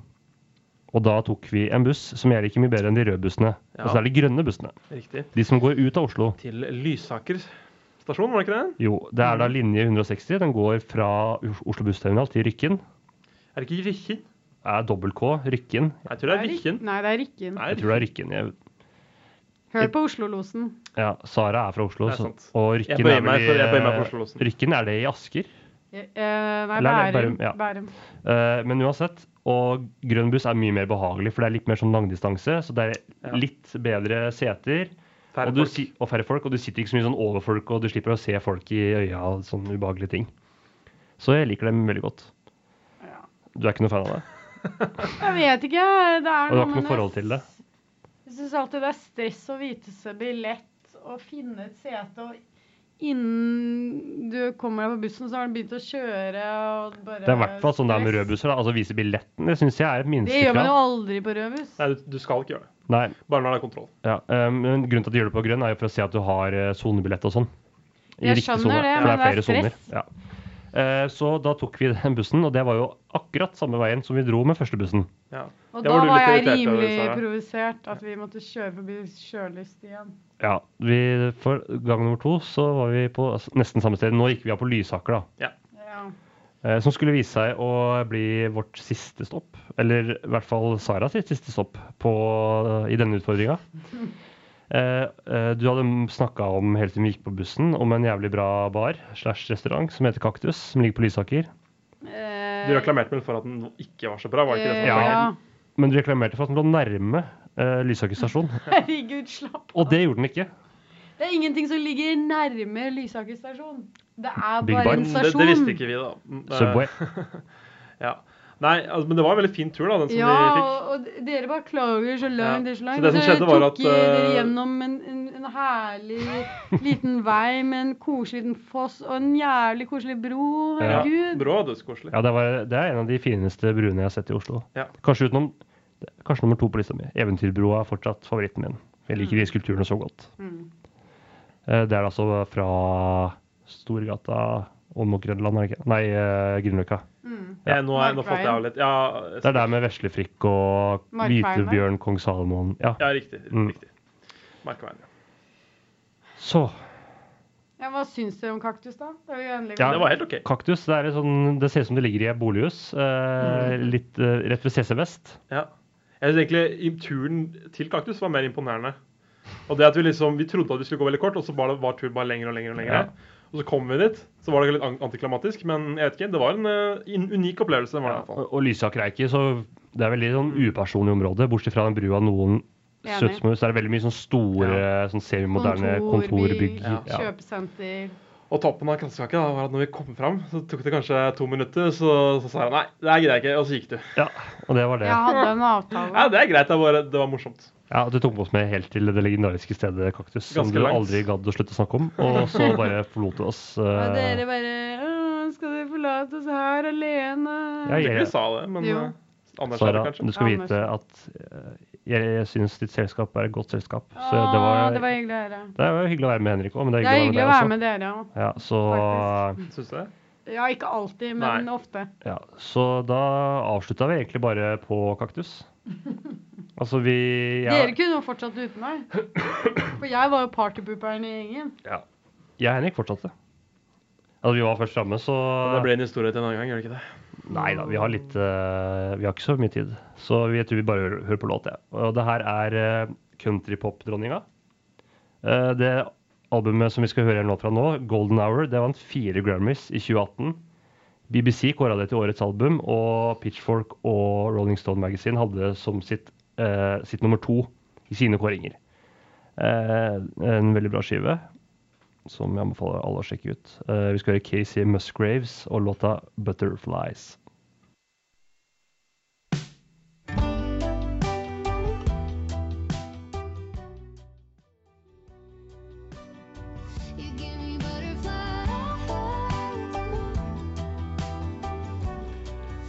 Speaker 2: Og da tok vi en buss som jeg liker mye bedre enn de røde bussene.
Speaker 3: Ja.
Speaker 2: Altså det er de grønne bussene.
Speaker 3: Riktig.
Speaker 2: De som går ut av Oslo.
Speaker 3: Til Lysaker stasjon, var det ikke det?
Speaker 2: Jo, det er da linje 160. Den går fra Os- Oslo bussterminal til Rykken.
Speaker 3: Er det ikke Rikken?
Speaker 2: Det er dobbelt K, Rykken.
Speaker 3: Jeg tror det er Rikken.
Speaker 4: Nei, det er Rikken.
Speaker 3: Nei,
Speaker 2: Jeg tror det er Rykken. Jeg,
Speaker 4: Hør på Oslo-losen.
Speaker 2: ja, Sara er fra Oslo,
Speaker 3: Det er
Speaker 2: så,
Speaker 3: sant.
Speaker 2: og
Speaker 3: Jeg
Speaker 2: Rykken
Speaker 3: bøyer
Speaker 2: er
Speaker 3: meg
Speaker 2: vel
Speaker 3: for- jeg bøyer meg for
Speaker 2: i- eh,
Speaker 3: Oslo Losen.
Speaker 2: Rykken, er det i Asker?
Speaker 4: Eh, nei,
Speaker 2: Eller,
Speaker 4: Bærum.
Speaker 2: Bærum, ja.
Speaker 4: Bærum.
Speaker 2: Eh, men uansett, og grønn buss er mye mer behagelig, for det er litt mer sånn langdistanse, så det
Speaker 3: Ja.
Speaker 2: er litt bedre seter.
Speaker 3: Færre
Speaker 2: og, du,
Speaker 3: folk.
Speaker 2: si- og færre folk, og du sitter ikke så mye sånn over folk, og du slipper å se folk i øya og sånne ubehagelige ting. Så jeg liker dem veldig godt. Du er ikke noe fan av det?
Speaker 4: Jeg vet ikke. eh, Det
Speaker 2: Og
Speaker 4: er
Speaker 2: du har
Speaker 4: noe
Speaker 2: ikke
Speaker 4: med
Speaker 2: noe forhold til det?
Speaker 4: Jeg syns alltid det er stress å vite seg billett og finne et sete. og Innen du kommer deg på bussen, så har den begynt å kjøre. Og bare
Speaker 2: Det er i hvert fall sånn det er med
Speaker 4: stress.
Speaker 2: røde busser. da. Altså vise billetten, det syns jeg er et
Speaker 4: Det gjør man jo
Speaker 2: minstekrav.
Speaker 4: aldri på rød buss.
Speaker 3: Nei, du, du skal ikke gjøre det.
Speaker 2: Nei,
Speaker 3: Bare når det er kontroll.
Speaker 2: ja. eh, men grunnen til at de gjør det på grønn, er jo for å si at du har eh, sonebillett og sånn. I
Speaker 4: Jeg
Speaker 2: riktig
Speaker 4: skjønner
Speaker 2: sone,
Speaker 4: det,
Speaker 2: for
Speaker 4: men det er
Speaker 2: flere soner.
Speaker 4: stress.
Speaker 2: Ja. Eh, Så da tok vi den bussen, og det var jo akkurat samme veien som vi dro med første bussen.
Speaker 3: Ja.
Speaker 4: Og
Speaker 3: Det
Speaker 4: da
Speaker 3: var du
Speaker 4: var jeg
Speaker 3: litt irritert over,
Speaker 4: rimelig
Speaker 3: Sara.
Speaker 4: provosert at vi måtte kjøre forbi kjørelyst igjen.
Speaker 2: Ja, vi, For gang nummer to så var vi på altså, nesten samme sted. Nå gikk vi av på Lysaker, da.
Speaker 4: Ja.
Speaker 2: Eh, Som skulle vise seg å bli vårt siste stopp, eller i hvert fall Sara sitt siste stopp på, i denne utfordringa. Eh, eh, du hadde snakka om helt siden vi gikk på bussen, om en jævlig bra bar slash restaurant som heter Kaktus, som ligger på Lysaker.
Speaker 4: Eh,
Speaker 3: Du reklamerte vel for at den ikke var så bra, var det ikke det som var
Speaker 4: ja.
Speaker 3: poenget?
Speaker 2: Men du reklamerte for at den lå nærme eh, Lysaker stasjon,
Speaker 4: *laughs* Herregud, slapp
Speaker 2: og det gjorde den ikke.
Speaker 4: Det er ingenting som ligger nærme Lysaker stasjon. Det er
Speaker 2: Big
Speaker 4: bare
Speaker 2: Bang.
Speaker 4: en
Speaker 3: Det,
Speaker 4: stasjon.
Speaker 3: det visste ikke vi, da. Mm, det-
Speaker 2: Subway.
Speaker 3: Ja. Nei, altså, men det var en veldig fin tur, da, den som
Speaker 4: Ja,
Speaker 3: vi fikk.
Speaker 4: og, og dere bare klager så langt.
Speaker 3: Ja.
Speaker 4: dere Så, langt.
Speaker 3: Så det som skjedde var at,
Speaker 4: tok dere
Speaker 3: eh,
Speaker 4: gjennom en, en, en herlig liten vei med en koselig liten foss og en jævlig koselig bro.
Speaker 2: Ja.
Speaker 4: Herregud.
Speaker 3: Brå var dødskoselig.
Speaker 2: Ja, det, var, det er en av de fineste bruene jeg har sett i Oslo.
Speaker 3: Ja.
Speaker 2: Kanskje utenom Kanskje nummer to på lista mi. Eventyrbroa er fortsatt favoritten min. Jeg liker de skulpturene så godt.
Speaker 4: Mm.
Speaker 2: Eh, Det er altså fra Storgata og mot Grønland, er det ikke? Nei, eh, Grünerløkka.
Speaker 4: Mm.
Speaker 3: Ja, Eh, nå, er, nå
Speaker 4: Markveien.
Speaker 3: falt jeg av litt. Ja,
Speaker 2: Det er der med Veslefrikk og
Speaker 4: Markveien der.
Speaker 2: Hvitebjørn, Kong Salomon Ja,
Speaker 3: ja riktig.
Speaker 2: Mm.
Speaker 3: riktig. Markveien. ja.
Speaker 2: så
Speaker 4: Ja, hva syns dere om kaktus, da? Det er jo endelig
Speaker 2: Ja.
Speaker 3: Det var helt OK.
Speaker 2: Kaktus. Det, er litt sånn, det ser ut som det ligger i et bolighus. Eh, litt eh, rett ved CC Vest.
Speaker 3: Ja. Jeg synes egentlig i- turen til Kaktus var mer imponerende. Og det at Vi liksom, vi trodde at vi skulle gå veldig kort, og så bare, var turen bare lenger og lenger. Og lenger.
Speaker 2: Ja.
Speaker 3: Og så kom vi dit. Så var det litt an- antiklimatisk, men jeg vet ikke, det var en eh, in- unik opplevelse. Var det, i hvert fall.
Speaker 2: Og, og Lysaker er ikke så Det er veldig sånn upersonlig område, bortsett fra den brua noen
Speaker 4: Enig.
Speaker 2: Søtsmøs, så er det veldig mye sånn store, sånn semimoderne kontorbygg. Ja.
Speaker 4: kjøpesenter.
Speaker 3: og toppen av kransekaka da, var at når vi kom fram, så tok det kanskje to minutter. Så, så sa jeg nei, det greier jeg ikke, og så gikk du.
Speaker 2: Ja, og det var det.
Speaker 4: Jeg hadde en
Speaker 3: Ja,
Speaker 4: avtale.
Speaker 3: det er greit, det, er bare, det var morsomt.
Speaker 2: Ja, Du tok oss med helt til det legendariske stedet Kaktus, som
Speaker 3: Ganske
Speaker 2: du
Speaker 3: langt.
Speaker 2: aldri gadd å slutte å snakke om. Og så
Speaker 4: *laughs*
Speaker 2: bare forlot du oss.
Speaker 4: Og
Speaker 2: eh,
Speaker 4: dere bare «Åh, Skal dere forlate oss her alene?
Speaker 2: Ja,
Speaker 3: Jeg tror
Speaker 2: jeg,
Speaker 3: ikke du sa det, men
Speaker 4: Jo.
Speaker 3: eh, Anders sa det
Speaker 2: Sara,
Speaker 3: kanskje.
Speaker 2: du skal
Speaker 4: Anders.
Speaker 2: vite at eh, jeg syns ditt selskap er et godt selskap. Så det
Speaker 4: Åh,
Speaker 2: var,
Speaker 4: Ah, det var hyggelig å høre.
Speaker 2: det var hyggelig å være med Henrik òg, men det
Speaker 4: Det er
Speaker 2: er
Speaker 4: hyggelig å være med dere òg.
Speaker 2: Ja, så,
Speaker 4: Faktisk.
Speaker 3: Syns du det?
Speaker 4: Ja, ikke alltid, men
Speaker 3: Nei.
Speaker 4: ofte.
Speaker 2: ja, så da avslutta vi egentlig bare på Kaktus. Altså, vi ja,
Speaker 4: Dere kunne jo fortsatt uten
Speaker 3: *coughs*
Speaker 4: meg. For jeg var jo partypooperen i gjengen.
Speaker 2: Jeg og Henrik fortsatte. Altså, vi var først framme, så
Speaker 3: Det ble en historie til en annen gang, gjør det ikke det?
Speaker 2: Nei da, vi har litt eh, Vi har ikke så mye tid. Så jeg tror vi bare hører, hører på låt, jeg. Og det her er eh, Countrypop-dronninga. Eh, det albumet som vi skal høre en låt fra nå, Golden Hour, det vant fire Grammys i 2018. BBC kåra det til årets album, og Pitchfork og Rolling Stone Magazine hadde det som sitt, eh, sitt nummer to i sine kåringer. Eh, en veldig bra skive som jeg anbefaler alle å sjekke ut. Eh, vi skal høre Casey Musgraves og låta 'Butterflies'.
Speaker 8: You give me butterflies.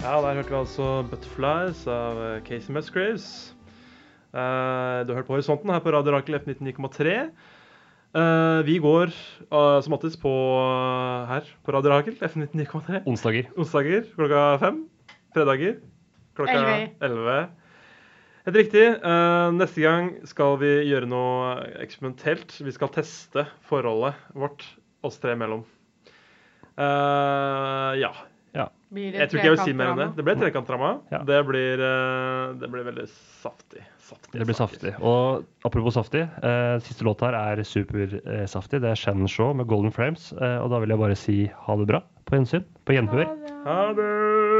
Speaker 3: Ja, der hørte vi altså 'Butterflies' av eh, Casey Musgraves. Eh, du har hørt på Horisonten her på Radio Rakel F99,3. Eh, vi går eh, som alltid på eh, her på Radio Rakel F99,3.
Speaker 2: Onsdager.
Speaker 3: Onsdager klokka fem. Fredager klokka
Speaker 4: Elleve.
Speaker 3: elleve. Helt riktig. Eh, neste gang skal vi gjøre noe eksperimentelt. Vi skal teste forholdet vårt oss tre imellom. Eh, ja.
Speaker 4: Blir det
Speaker 3: Jeg tror ikke jeg vil si mer enn
Speaker 4: trekantsdrama?
Speaker 3: det. Det blir trekantdrama.
Speaker 2: Ja.
Speaker 3: Det, blir, eh, det blir veldig saftig. Saftig,
Speaker 2: Det blir saftig. Og apropos saftig, eh, siste låt her er supersaftig. det er Shannon eh, Shaw med Golden Frames. Eh, og da vil jeg bare si ha det bra. På gjensyn. På gjenhør.
Speaker 3: Ha det!